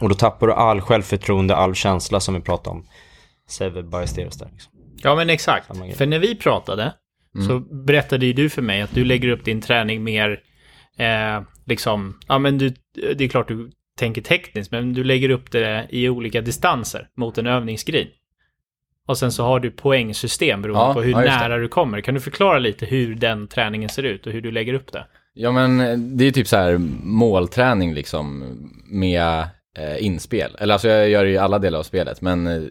Speaker 2: Och då tappar du all självförtroende, all känsla som vi pratade om. Seve Ballesteros där. Liksom.
Speaker 1: ja men exakt.
Speaker 2: Samma grej.
Speaker 1: För när vi pratade
Speaker 3: Mm.
Speaker 1: så berättade ju du för mig att du lägger upp din träning mer, eh, liksom, ja men du, det är klart du tänker tekniskt, men du lägger upp det i olika distanser mot en övningsgrin. Och sen så har du poängsystem beroende
Speaker 3: Ja,
Speaker 1: på hur
Speaker 3: ja, just det.
Speaker 1: nära du kommer. Kan du förklara lite hur den träningen ser ut och hur du lägger upp det?
Speaker 3: Ja, men eh, det är typ så här målträning liksom med eh, inspel. Eller alltså jag gör det i alla delar av spelet, men eh,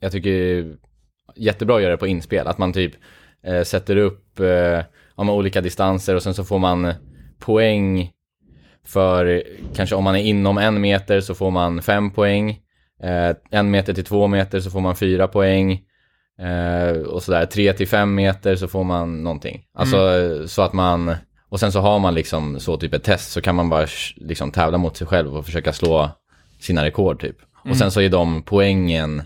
Speaker 3: jag tycker det är jättebra att göra det på inspel. Att man typ eh, sätter upp eh, ja, men olika distanser och sen så får man poäng för eh, kanske om man är inom en meter så får man fem poäng. Eh, en meter till två meter så får man fyra poäng. Eh, och sådär, tre till fem meter så får man någonting. Alltså eh, så att man Och sen så har man liksom så typ ett test så kan man bara sh- liksom tävla mot sig själv och försöka slå sina rekord typ. Och sen så är de poängen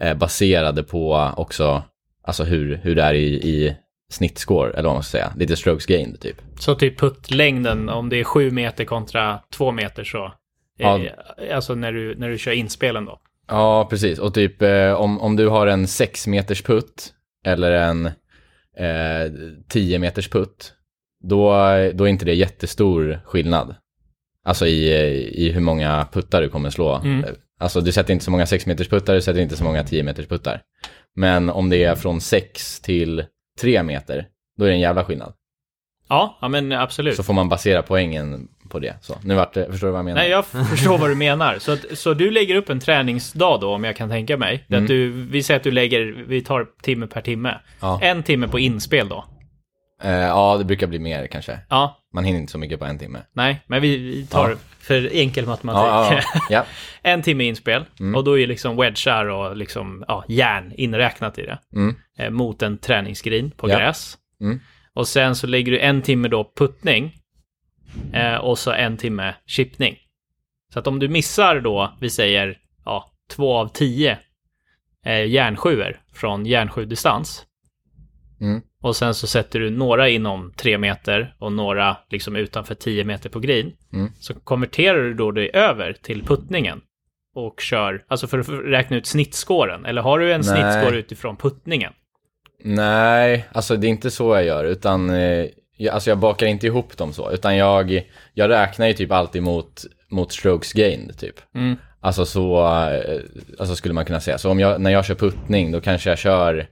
Speaker 3: eh, baserade på också alltså hur, hur det är i, i snittscore eller vad man ska säga. Lite strokes gained typ.
Speaker 1: Så typ puttlängden, om det är sju meter kontra två meter så.
Speaker 3: Ja.
Speaker 1: eh, Alltså när du, när du kör inspelen då.
Speaker 3: Ja, precis. Och typ eh, om, om du har en 6 meters putt eller en eh, 10 meters putt, då, då är inte det jättestor skillnad. Alltså i, eh, i hur många puttar du kommer slå.
Speaker 1: Mm.
Speaker 3: Alltså du sätter inte så många 6 meters puttar, du sätter inte så många 10 meters puttar. Men om det är från 6 till 3 meter, då är det en jävla skillnad.
Speaker 1: Ja, ja men absolut.
Speaker 3: Så får man basera poängen på det. Så, nu vart det, förstår du vad jag menar?
Speaker 1: Nej, jag förstår vad du menar. Så, att, så du lägger upp en träningsdag då, om jag kan tänka mig.
Speaker 3: Mm.
Speaker 1: Att du, vi säger att du lägger, vi tar timme per timme.
Speaker 3: Ja.
Speaker 1: En timme på inspel då.
Speaker 3: eh, ja, det brukar bli mer kanske.
Speaker 1: Ja,
Speaker 3: Man hinner inte så mycket på en timme.
Speaker 1: nej, men vi, vi tar
Speaker 3: Ja.
Speaker 1: för enkel matematik.
Speaker 3: Ja, ja, ja. ja.
Speaker 1: en timme inspel
Speaker 3: Mm.
Speaker 1: och då är liksom wedgar och liksom, ja, järn inräknat i det.
Speaker 3: Mm.
Speaker 1: Eh, mot en träningsgrin på
Speaker 3: Ja.
Speaker 1: gräs.
Speaker 3: Mm.
Speaker 1: Och sen så lägger du en timme då puttning eh, och så en timme chippning. Så att om du missar då, vi säger ja, två av tio eh, järnsjuor från järnsjudistans.
Speaker 3: Mm.
Speaker 1: Och sen så sätter du några inom tre meter och några liksom utanför tio meter på green.
Speaker 3: Mm.
Speaker 1: Så konverterar du då det över till puttningen och kör, alltså för att räkna ut snittskåren. Eller har du en
Speaker 3: Nej.
Speaker 1: snittskår utifrån puttningen?
Speaker 3: Nej, alltså det är inte så jag gör, utan eh, jag, alltså jag bakar inte ihop dem så, utan jag, jag räknar ju typ alltid mot, mot strokes gained typ.
Speaker 1: Mm.
Speaker 3: Alltså så, eh, alltså skulle man kunna säga. Så om jag, när jag kör puttning, då kanske jag kör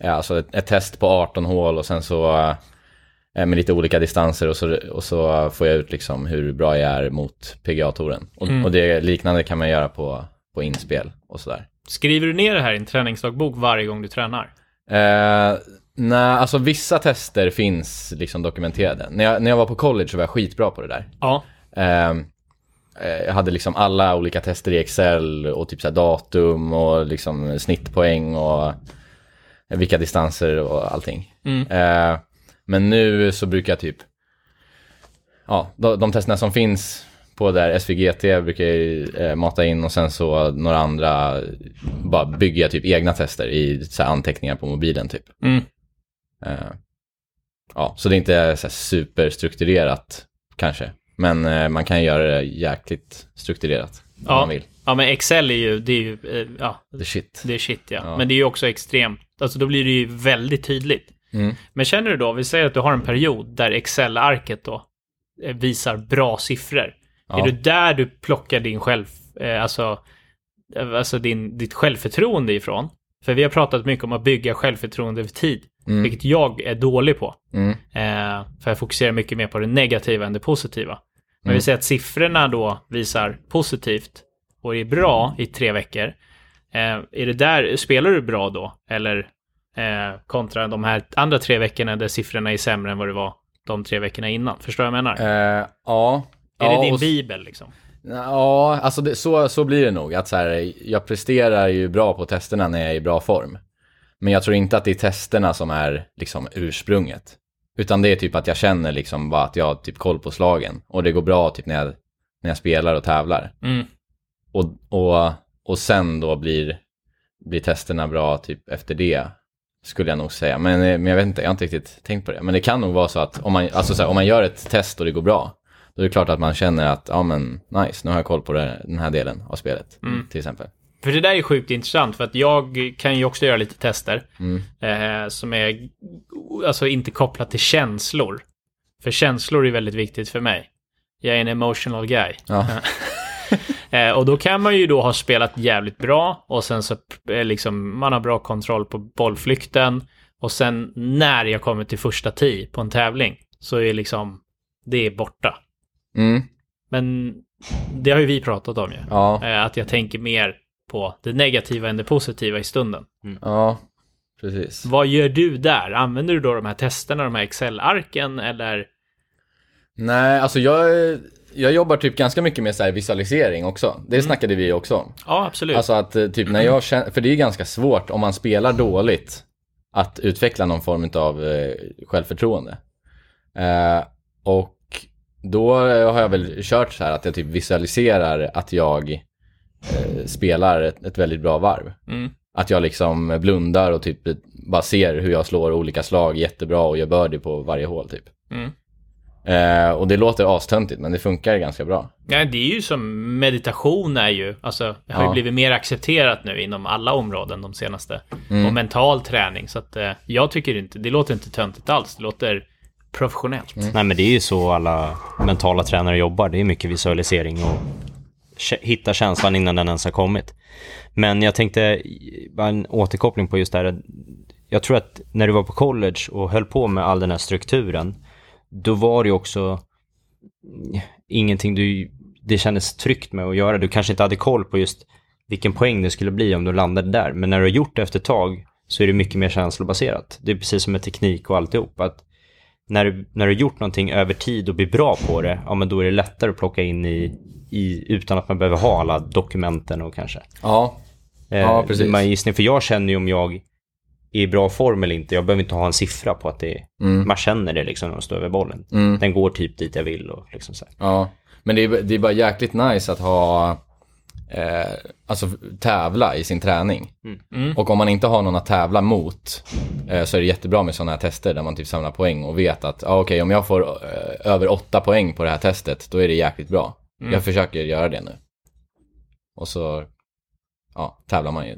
Speaker 3: eh, alltså ett, ett test på 18 hål och sen så eh, med lite olika distanser och så, och så får jag ut liksom hur bra jag är mot PGA-touren. Och, och det liknande kan man göra på, på inspel och sådär.
Speaker 1: Skriver du ner det här i en träningsdagbok varje gång du tränar?
Speaker 3: Eh, nej, alltså vissa tester finns liksom dokumenterade. När jag, när jag var på college så var jag skitbra på det där.
Speaker 1: Ja.
Speaker 3: Eh, eh, jag hade liksom alla olika tester i Excel och typ så här datum och liksom snittpoäng och vilka distanser och allting.
Speaker 1: Mm.
Speaker 3: Eh, men nu så brukar jag typ, ja, de, de testerna som finns på där SVGT brukar jag ju, eh, mata in och sen så några andra, bara bygger jag typ egna tester i så här anteckningar på mobilen typ.
Speaker 1: Mm.
Speaker 3: Eh, ja, så det är inte så här superstrukturerat kanske. Men eh, man kan göra det jäkligt strukturerat om
Speaker 1: Ja.
Speaker 3: man vill.
Speaker 1: ja, men Excel är ju, det är ju, eh, ja,
Speaker 3: The shit.
Speaker 1: det är shit ja.
Speaker 3: Ja.
Speaker 1: Men det är ju också extremt, alltså då blir det ju väldigt tydligt.
Speaker 3: Mm.
Speaker 1: Men känner du då, vi säger att du har en period där Excel-arket då eh, visar bra siffror.
Speaker 3: Ja.
Speaker 1: Är det där du plockar din själv, eh, alltså, eh, alltså din, ditt självförtroende ifrån? För vi har pratat mycket om att bygga självförtroende över tid,
Speaker 3: Mm.
Speaker 1: vilket jag är dålig på.
Speaker 3: Mm.
Speaker 1: Eh, för jag fokuserar mycket mer på det negativa än det positiva. Men
Speaker 3: Mm.
Speaker 1: vi säger att siffrorna då visar positivt och är bra i tre veckor. Eh, är det där, spelar du bra då? Eller eh, kontra de här andra tre veckorna där siffrorna är sämre än vad det var de tre veckorna innan? Förstår du vad jag menar?
Speaker 3: Eh, ja.
Speaker 1: är
Speaker 3: ja,
Speaker 1: det din
Speaker 3: och-
Speaker 1: bibel liksom?
Speaker 3: Ja, alltså det, så, så blir det nog. Att så här, jag presterar ju bra på testerna när jag är i bra form. Men jag tror inte att det är testerna som är liksom ursprunget. Utan det är typ att jag känner liksom bara att jag har typ koll på slagen. Och det går bra typ när jag, när jag spelar och tävlar.
Speaker 1: Mm.
Speaker 3: Och, och, och sen då blir, blir testerna bra typ efter det. Skulle jag nog säga. Men, eh, men jag vet inte, jag har inte riktigt tänkt på det. Men det kan nog vara så att om man, alltså så här, om man gör ett test och det går bra. Då är det klart att man känner att, ja men nice, nu har jag koll på det, den här delen av spelet. Till exempel.
Speaker 1: För det där är sjukt intressant för att jag kan ju också göra lite tester eh, som är alltså inte kopplat till känslor. För känslor är väldigt viktigt för mig. Jag är en emotional guy.
Speaker 3: Ja.
Speaker 1: Eh, och då kan man ju då ha spelat jävligt bra och sen så eh, liksom man har bra kontroll på bollflykten och sen när jag kommer till första tee på en tävling så är liksom det är borta.
Speaker 3: Mm,
Speaker 1: Men det har ju vi pratat om ju.
Speaker 3: ja,
Speaker 1: Eh, Att jag tänker mer på det negativa än det positiva i stunden.
Speaker 3: ja, precis.
Speaker 1: Vad gör du där? Använder du då de här testerna, de här Excel-arken eller?
Speaker 3: Nej, alltså jag, jag jobbar typ ganska mycket med så här visualisering också. Det snackade vi också om.
Speaker 1: Ja, absolut.
Speaker 3: Alltså att eh, typ när jag känner, för det är ganska svårt om man spelar dåligt att utveckla någon form av självförtroende. Eh, Och då har jag väl kört så här att jag typ visualiserar att jag eh, spelar ett, ett väldigt bra varv.
Speaker 1: Mm.
Speaker 3: Att jag liksom blundar och typ bara ser hur jag slår olika slag jättebra och gör birdie på varje hål typ.
Speaker 1: Mm.
Speaker 3: Eh, och det låter astöntigt men det funkar ganska bra.
Speaker 1: Ja, det är ju som meditation är ju, alltså det har ju
Speaker 3: Ja.
Speaker 1: blivit mer accepterat nu inom alla områden de senaste. Och mental träning, så att eh, jag tycker inte, det låter inte töntigt alls, det låter professionellt.
Speaker 2: Nej men det är ju så alla mentala tränare jobbar. Det är mycket visualisering och kä- hitta känslan innan den ens har kommit. Men jag tänkte, bara en återkoppling på just det här. Jag tror att när du var på college och höll på med all den här strukturen, då var det ju också ingenting du, det kändes tryggt med att göra. Du kanske inte hade koll på just vilken poäng det skulle bli om du landade där. Men när du har gjort det efter ett tag så är det mycket mer känslobaserat. Det är precis som med teknik och alltihop. Att när du, när du har gjort någonting över tid och blir bra på det, ja men då är det lättare att plocka in i, i utan att man behöver ha alla dokumenten och kanske.
Speaker 3: Ja,
Speaker 2: Eh,
Speaker 3: Ja, precis.
Speaker 2: Man gissning, för jag känner ju om jag är i bra form eller inte. Jag behöver inte ha en siffra på att det är,
Speaker 3: Mm.
Speaker 2: man känner det liksom när man står över bollen. Den går typ dit jag vill och liksom så här.
Speaker 3: Ja, men det är, det är bara jäkligt nice att ha, eh, alltså tävla i sin träning. Mm. Och om man inte har någon att tävla mot eh, så är det jättebra med sådana här tester där man typ samlar poäng och vet att ah, okej, om jag får eh, över åtta poäng på det här testet, då är det jäkligt bra. Jag försöker göra det nu. Och så, ja, tävlar man ju.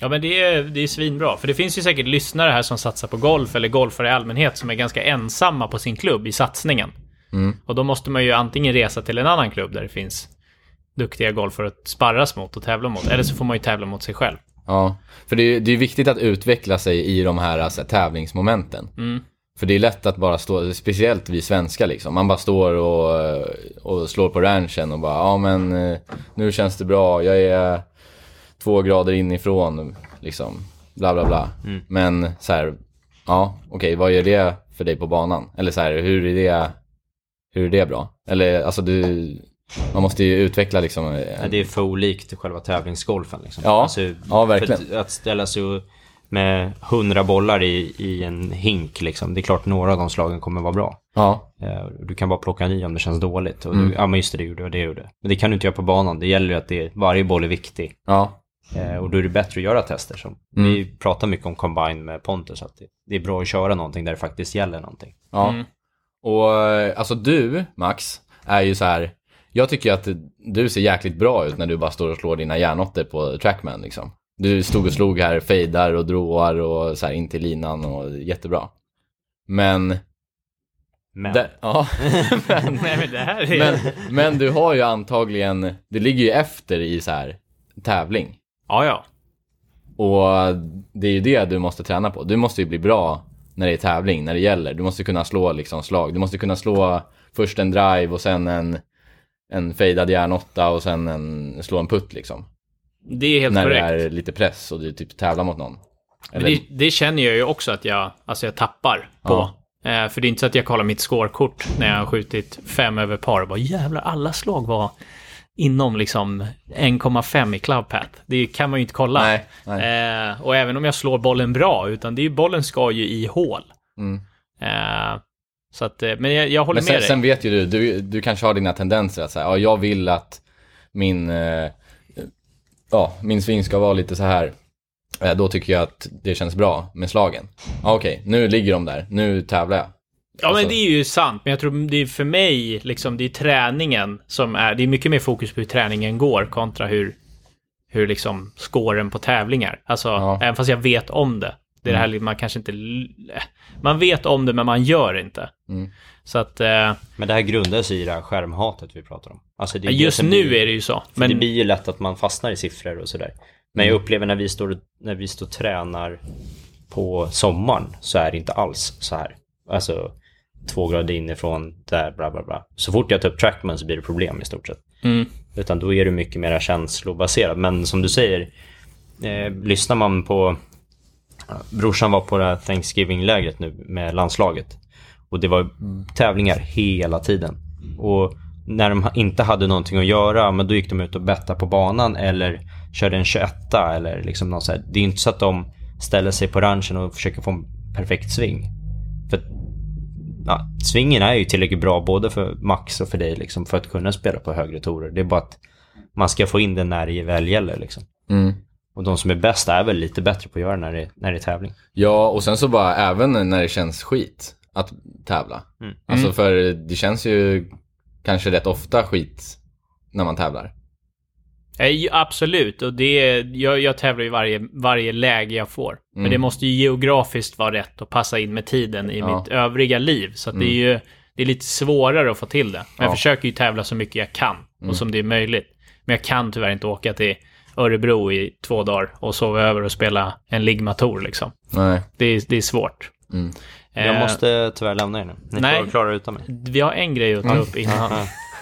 Speaker 1: Ja men det är, det är svinbra, för det finns ju säkert lyssnare här som satsar på golf eller golfare i allmänhet som är ganska ensamma på sin klubb i satsningen.
Speaker 3: Mm.
Speaker 1: Och då måste man ju antingen resa till en annan klubb där det finns duktiga golfare att sparras mot och tävla mot, eller så får man ju tävla mot sig själv.
Speaker 3: Ja, för det är, det är viktigt att utveckla sig i de här alltså, tävlingsmomenten. För det är lätt att bara stå, speciellt vi svenskar liksom, man bara står och, eh, och slår på ranchen och bara, ja men eh, nu känns det bra, jag är två grader inifrån, liksom, bla bla bla. Men så här, ja okej, vad gör det för dig på banan? Eller så här, hur är det, hur är det bra? Eller alltså du, man måste ju utveckla liksom. en-
Speaker 2: Nej, det är för olikt själva tävlingsgolfen. Liksom.
Speaker 3: Ja, ja, verkligen.
Speaker 2: för Att, att ställa sig och- med hundra bollar i, i en hink, liksom. det är klart några av de slagen kommer vara bra.
Speaker 3: Ja.
Speaker 2: Eh, Du kan bara plocka i om det känns dåligt. Och
Speaker 3: Mm.
Speaker 2: du, ja, men just det, det gjorde och det gjorde. Men det kan du inte göra på banan. Det gäller ju att det, varje boll är viktig.
Speaker 3: Ja,
Speaker 2: Eh, Och då är det bättre att göra tester. Som.
Speaker 3: Mm.
Speaker 2: Vi pratar mycket om combine med Pontus, att det, det är bra att köra någonting där det faktiskt gäller någonting.
Speaker 3: Ja. Och eh, alltså du, Max, är ju så här. Jag tycker att du ser jäkligt bra ut när du bara står och slår dina järnåttor på Trackman liksom. Du stod och slog här, fejdar och droar och så här in till linan och jättebra. Men,
Speaker 2: Men
Speaker 3: där- ja,
Speaker 1: Nej men det här är...
Speaker 3: men, men du har ju antagligen, du ligger ju efter i så här tävling.
Speaker 1: Ja, ja.
Speaker 3: Och det är ju det du måste träna på. Du måste ju bli bra när det är tävling, när det gäller. Du måste kunna slå liksom slag. Du måste kunna slå först en drive och sen en, en fejdad järnåtta och sen en, slå en putt liksom.
Speaker 1: Det är helt
Speaker 3: när
Speaker 1: korrekt.
Speaker 3: det är lite press och du typ tävlar mot någon.
Speaker 1: Men det, det känner jag ju också att jag, alltså jag tappar på. Eh, för det är inte så att jag kollar mitt scorekort när jag har skjutit fem över par och bara jävlar, alla slag var inom liksom 1,5 i clubpat. Det kan man ju inte kolla.
Speaker 3: Nej, nej.
Speaker 1: Eh, och även om jag slår bollen bra, utan det är ju, bollen ska ju i hål.
Speaker 3: Mm.
Speaker 1: Eh, så att, eh, men jag, jag håller
Speaker 3: Men sen,
Speaker 1: med dig.
Speaker 3: sen vet ju du, du, du kanske har dina tendenser att säga, ja jag vill att min, eh, ja, min sving ska vara lite så här. Eh, då tycker jag att det känns bra med slagen. Ja, Okej, nu ligger de där, nu tävlar jag.
Speaker 1: Ja, men
Speaker 3: Alltså-
Speaker 1: det är ju sant. Men jag tror det är för mig, liksom, det är träningen som är... Det är mycket mer fokus på hur träningen går kontra hur, hur liksom scoren på tävlingar. Alltså, även fast jag vet om det. Det är det här,
Speaker 2: Mm.
Speaker 1: li- man kanske inte... l- eh, Man vet om det, men man gör inte. Så att... Eh,
Speaker 2: Mm. Men det här grundar sig i det här skärmhatet vi pratar om. Alltså det är det
Speaker 1: just
Speaker 2: som
Speaker 1: nu
Speaker 2: blir-
Speaker 1: är det ju så.
Speaker 2: För det
Speaker 1: Men
Speaker 2: blir ju lätt att man fastnar i siffror och sådär. Men jag upplever när vi, står, när vi står och tränar på sommaren så är det inte alls så här. Alltså två grader inifrån, där, bla bla bla. Så fort jag tar upp trackman så blir det problem i stort sett. Utan då är det mycket mer känslobaserat. Men som du säger, eh, lyssnar man på... Brorsan var på det här Thanksgiving-lägret nu med landslaget. Och det var tävlingar hela tiden. Och när de ha- inte hade någonting att göra, men då gick de ut och bettade på banan eller körde en 21 eller liksom något så här. Det är ju inte så att de ställer sig på ranchen och försöker få en perfekt sving. För att ja, svingen är ju tillräckligt bra både för Max och för dig liksom, för att kunna spela på högre torer. Det är bara att man ska få in den när det väl gäller. Liksom.
Speaker 3: Mm.
Speaker 2: Och de som är bäst är väl lite bättre på att göra när det, när det är tävling.
Speaker 3: Ja, och sen så bara även när det känns skit att tävla.
Speaker 2: Mm.
Speaker 3: Alltså för det känns ju kanske rätt ofta skit när man tävlar.
Speaker 1: Nej, Eh, ju- absolut. Och det, är- jag, jag tävlar ju varje, varje läge jag får. Men
Speaker 3: Mm.
Speaker 1: det måste ju geografiskt vara rätt och passa in med tiden i
Speaker 3: Ja. Mm.
Speaker 1: mitt övriga liv. Så att det är ju det är lite svårare att få till det. Men jag
Speaker 3: Ja. Mm.
Speaker 1: försöker ju tävla så mycket jag kan och som det är möjligt. Men jag kan tyvärr inte åka till Örebro i två dagar och sova över och spela en Ligma-tour liksom.
Speaker 3: Nej.
Speaker 1: Det är, det är svårt.
Speaker 3: Mm.
Speaker 2: Jag
Speaker 1: Eh,
Speaker 2: måste tyvärr lämna er nu. Ni
Speaker 1: nej.
Speaker 2: får klara utan mig.
Speaker 1: Vi har en grej att ta upp innan.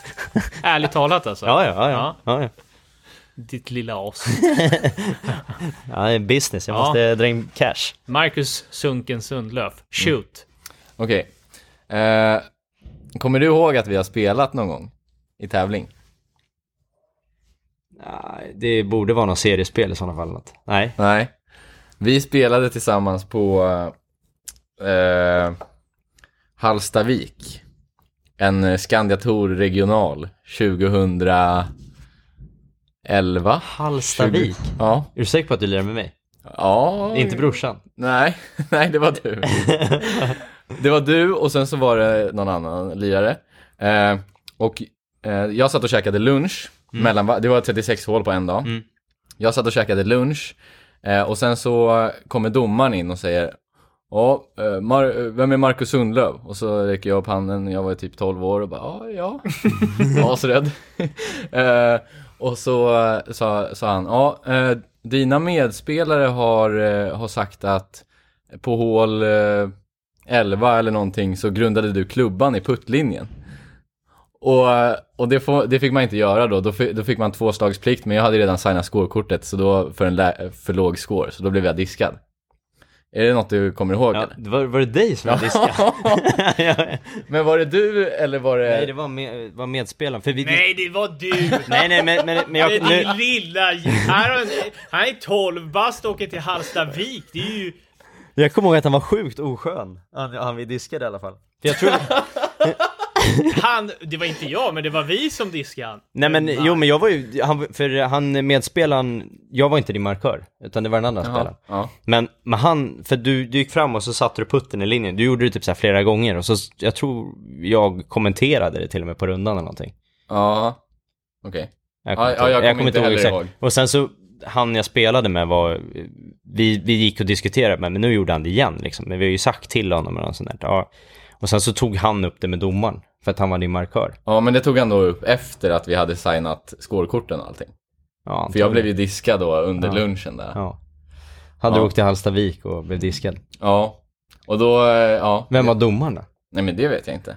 Speaker 1: Ärligt talat alltså.
Speaker 2: Mm. Ja, ja, ja. ja. ja, ja.
Speaker 1: Ditt lilla as.
Speaker 2: ja det är business. Jag
Speaker 1: Ja.
Speaker 2: måste dra in cash.
Speaker 1: Marcus Sunken Sundlöf. Shoot.
Speaker 3: Okej. Eh, kommer du ihåg att vi har spelat någon gång i tävling?
Speaker 2: Nej, Det borde vara något seriespel i sådana fall. Något. Nej.
Speaker 3: Nej. Vi spelade tillsammans på eh, Hallstavik. En eh, Skandia Tour regional 2011.
Speaker 2: Hallstavik.
Speaker 3: Ja.
Speaker 2: Är du säker på att du lirar med mig?
Speaker 3: Ja.
Speaker 2: Inte brorsan?
Speaker 3: Nej, nej det var du. Det var du och sen så var det någon annan lirare. Eh, och eh, jag satt och käkade lunch, mellan, va- det var 36 hål på en dag.
Speaker 2: Mm.
Speaker 3: Jag satt och käkade lunch eh, och sen så kommer domaren in och säger Ja, eh, Mar- eh, vem är Marcus Sundlöv? Och så räcker jag upp handen, jag var typ 12 år och bara ja, ja. Asrädd. eh, och så eh, sa, sa han, ja, eh, dina medspelare har, eh, har sagt att på hål eh, 11 eller någonting så grundade du klubban i puttlinjen. Och, eh, och det, får, det fick man inte göra då. Då, fi- då fick man tvåslagsplikt, men jag hade redan signat scorekortet så då, för en lä- för låg score, så då blev jag diskad. Är det något du kommer ihåg?
Speaker 2: Ja,
Speaker 3: eller?
Speaker 2: det var, var det dig som jag diskade? Ja.
Speaker 3: men var det du eller var det...
Speaker 2: nej, det var, med, var medspelaren. För vi,
Speaker 1: Mm. Nej, det var du!
Speaker 2: nej, nej, men, men, men jag...
Speaker 1: Det är
Speaker 2: Nu,
Speaker 1: din lilla... Han har- han är 12 bast och åker till Hallstavik. Det är ju...
Speaker 2: Jag kommer ihåg att han var sjukt oskön. Han, han vi diskade i alla fall. För jag tror...
Speaker 1: Han... Det var inte jag, men det var vi som diskade han.
Speaker 2: Nej men, jo men jag var ju, han, för han medspelaren, jag var inte din markör, utan det var den andra spelaren.
Speaker 3: ja, ja.
Speaker 2: Men, men han, för du, du gick fram och så satte du putten i linjen, du gjorde det typ så här flera gånger och så, jag tror jag kommenterade det till och med på rundan eller någonting.
Speaker 3: ja. Okej.
Speaker 2: Jag
Speaker 3: Ja, ja, jag kommer inte heller
Speaker 2: exakt.
Speaker 3: ihåg.
Speaker 2: Och sen så, han jag spelade med var, vi, vi gick och diskuterade men nu gjorde han det igen liksom. Men vi har ju sagt till honom eller något sånt där. Ja. Och sen så tog han upp det med domaren, för att han var din markör.
Speaker 3: Ja, men det tog han då upp efter att vi hade signat scorekorten och allting.
Speaker 2: Ja,
Speaker 3: För jag blev ju diskad då under lunchen där. Ja.
Speaker 2: Ja. Hade
Speaker 3: Ja.
Speaker 2: åkt till Hallstavik och blev diskad.
Speaker 3: Och då, eh, ja.
Speaker 2: Vem var domaren då?
Speaker 3: Nej, men det vet jag inte.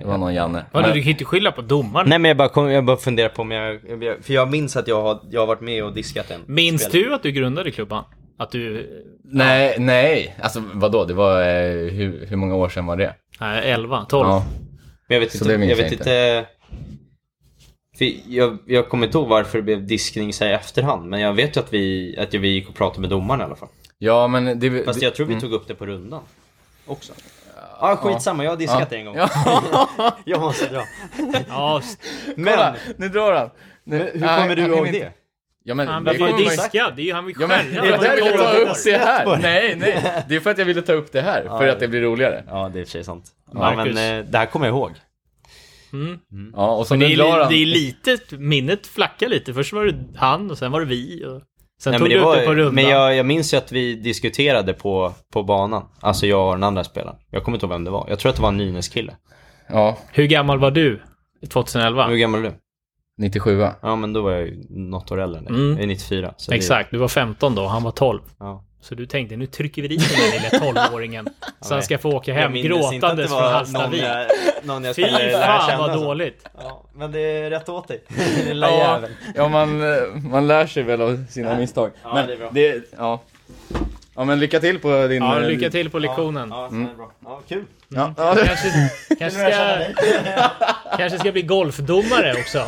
Speaker 3: Det var någon Janne.
Speaker 1: Vadå,
Speaker 3: Men-
Speaker 1: du kan inte skylla på domaren.
Speaker 2: Nej men jag bara, kom, jag bara funderar på om jag, jag, jag- för jag minns att jag har, jag har varit med och diskat en.
Speaker 1: Minns
Speaker 2: spelare.
Speaker 1: du att du grundade klubban? Att du...
Speaker 3: Nej, nej. Alltså vadå, det var, eh, hur, hur många år sedan var det?
Speaker 1: Nej, 11, 12.
Speaker 3: Ja.
Speaker 2: Men jag vet
Speaker 3: Så
Speaker 2: inte,
Speaker 3: det minns
Speaker 2: jag
Speaker 3: jag
Speaker 2: vet
Speaker 3: inte.
Speaker 2: inte. För jag, jag kommer inte ihåg varför det blev diskning så här i efterhand, men jag vet ju att vi, att vi gick och pratade med domaren i alla fall.
Speaker 3: Ja, men det...
Speaker 2: Fast
Speaker 3: det-
Speaker 2: jag tror vi tog upp det på rundan. Också. Ja, skitsamma, jag har diskat det en gång. jag måste dra.
Speaker 1: Ja, st-
Speaker 2: Men,
Speaker 3: Kolla, nu drar han. Nu,
Speaker 2: hur kommer du ihåg det?
Speaker 3: Ja, men,
Speaker 1: han
Speaker 3: det
Speaker 1: blev ju
Speaker 3: kommer man-
Speaker 1: diskad. Det är ju han vill
Speaker 3: Ja,
Speaker 1: skära.
Speaker 3: men, det var
Speaker 1: Han
Speaker 3: därför jag
Speaker 1: var
Speaker 3: tar
Speaker 1: ju
Speaker 3: upp det här. Nej, nej. Det är för att jag ville ta upp det här, för
Speaker 2: Ja. Mm.
Speaker 3: att det blir roligare.
Speaker 2: Ja, det är i och för sig sant. Ja,
Speaker 1: Marcus.
Speaker 2: men eh, det här kommer jag ihåg.
Speaker 3: Ja, och så
Speaker 1: Det
Speaker 3: nu drar
Speaker 1: är, det är
Speaker 3: han.
Speaker 1: lite... Minnet flackar lite. Först var det han och sen var det vi. Och... Sen
Speaker 2: Nej,
Speaker 1: tog
Speaker 2: men
Speaker 1: du
Speaker 2: det
Speaker 1: upp
Speaker 2: var,
Speaker 1: det på rundan.
Speaker 2: men jag, jag minns ju att vi diskuterade på, på banan. Alltså jag och den andra spelaren. Jag kommer inte ihåg vem det var. Jag tror att det var en Nynäs-kille.
Speaker 3: Ja,
Speaker 1: Hur gammal var du 2011?
Speaker 2: Hur gammal är du?
Speaker 3: 97
Speaker 2: Ja men då var jag ju något år äldre än dig.
Speaker 1: Mm.
Speaker 2: Jag är 94. Så det-
Speaker 1: Exakt, du var 15 då och han var 12.
Speaker 2: Ja.
Speaker 1: Så du tänkte, nu trycker vi dit den där lilla 12-åringen. Så han ska få åka
Speaker 2: Jag
Speaker 1: hem
Speaker 2: minns inte att det
Speaker 1: gråtandes
Speaker 2: var
Speaker 1: från Hallstavik.
Speaker 2: Någon jag, någon jag
Speaker 1: Fy
Speaker 2: skulle lära
Speaker 1: fan
Speaker 2: känna.
Speaker 1: vad
Speaker 2: så.
Speaker 1: dåligt.
Speaker 2: Ja, men det är rätt åt dig. Lilla
Speaker 3: Ja,
Speaker 2: jävel.
Speaker 3: ja man, eh, man lär sig väl av sina misstag.
Speaker 2: Ja,
Speaker 3: men
Speaker 2: det är bra.
Speaker 3: ja. ja, men lycka till på din...
Speaker 1: Ja,
Speaker 3: eh,
Speaker 1: lycka till Mm. på lektionen.
Speaker 2: Ja, så är det bra. Ja, kul.
Speaker 3: Ja, ja.
Speaker 1: Kanske, kanske, ska, kanske ska bli golfdomare också.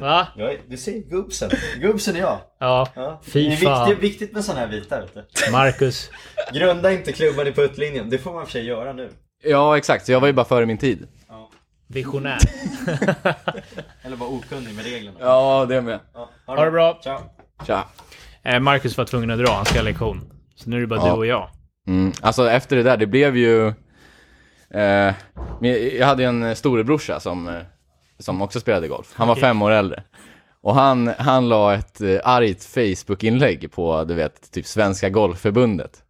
Speaker 1: Va?
Speaker 2: Jag är, du ser gubbsen. Gubbsen är jag.
Speaker 1: Ja, fy fan.
Speaker 2: viktigt med sådana här vita vet du.
Speaker 1: Marcus.
Speaker 2: Grunda inte klubban i puttlinjen. Det får man för sig göra nu.
Speaker 3: Ja, exakt. Så jag var ju bara före min tid.
Speaker 1: Visionär.
Speaker 2: Eller bara okunnig med reglerna.
Speaker 3: Ja, det med.
Speaker 1: Ha det bra.
Speaker 3: Tja.
Speaker 1: Eh, Marcus var tvungen att dra, han ska ha lektion. Så nu är det bara
Speaker 3: Ja.
Speaker 1: du och jag.
Speaker 3: Mm. Alltså efter det där, det blev ju... Eh, men jag hade ju en storebrorsa som, eh, som också spelade golf. Han var fem år äldre. Och han, han la ett eh, argt Facebook-inlägg på, du vet, typ Svenska Golfförbundet.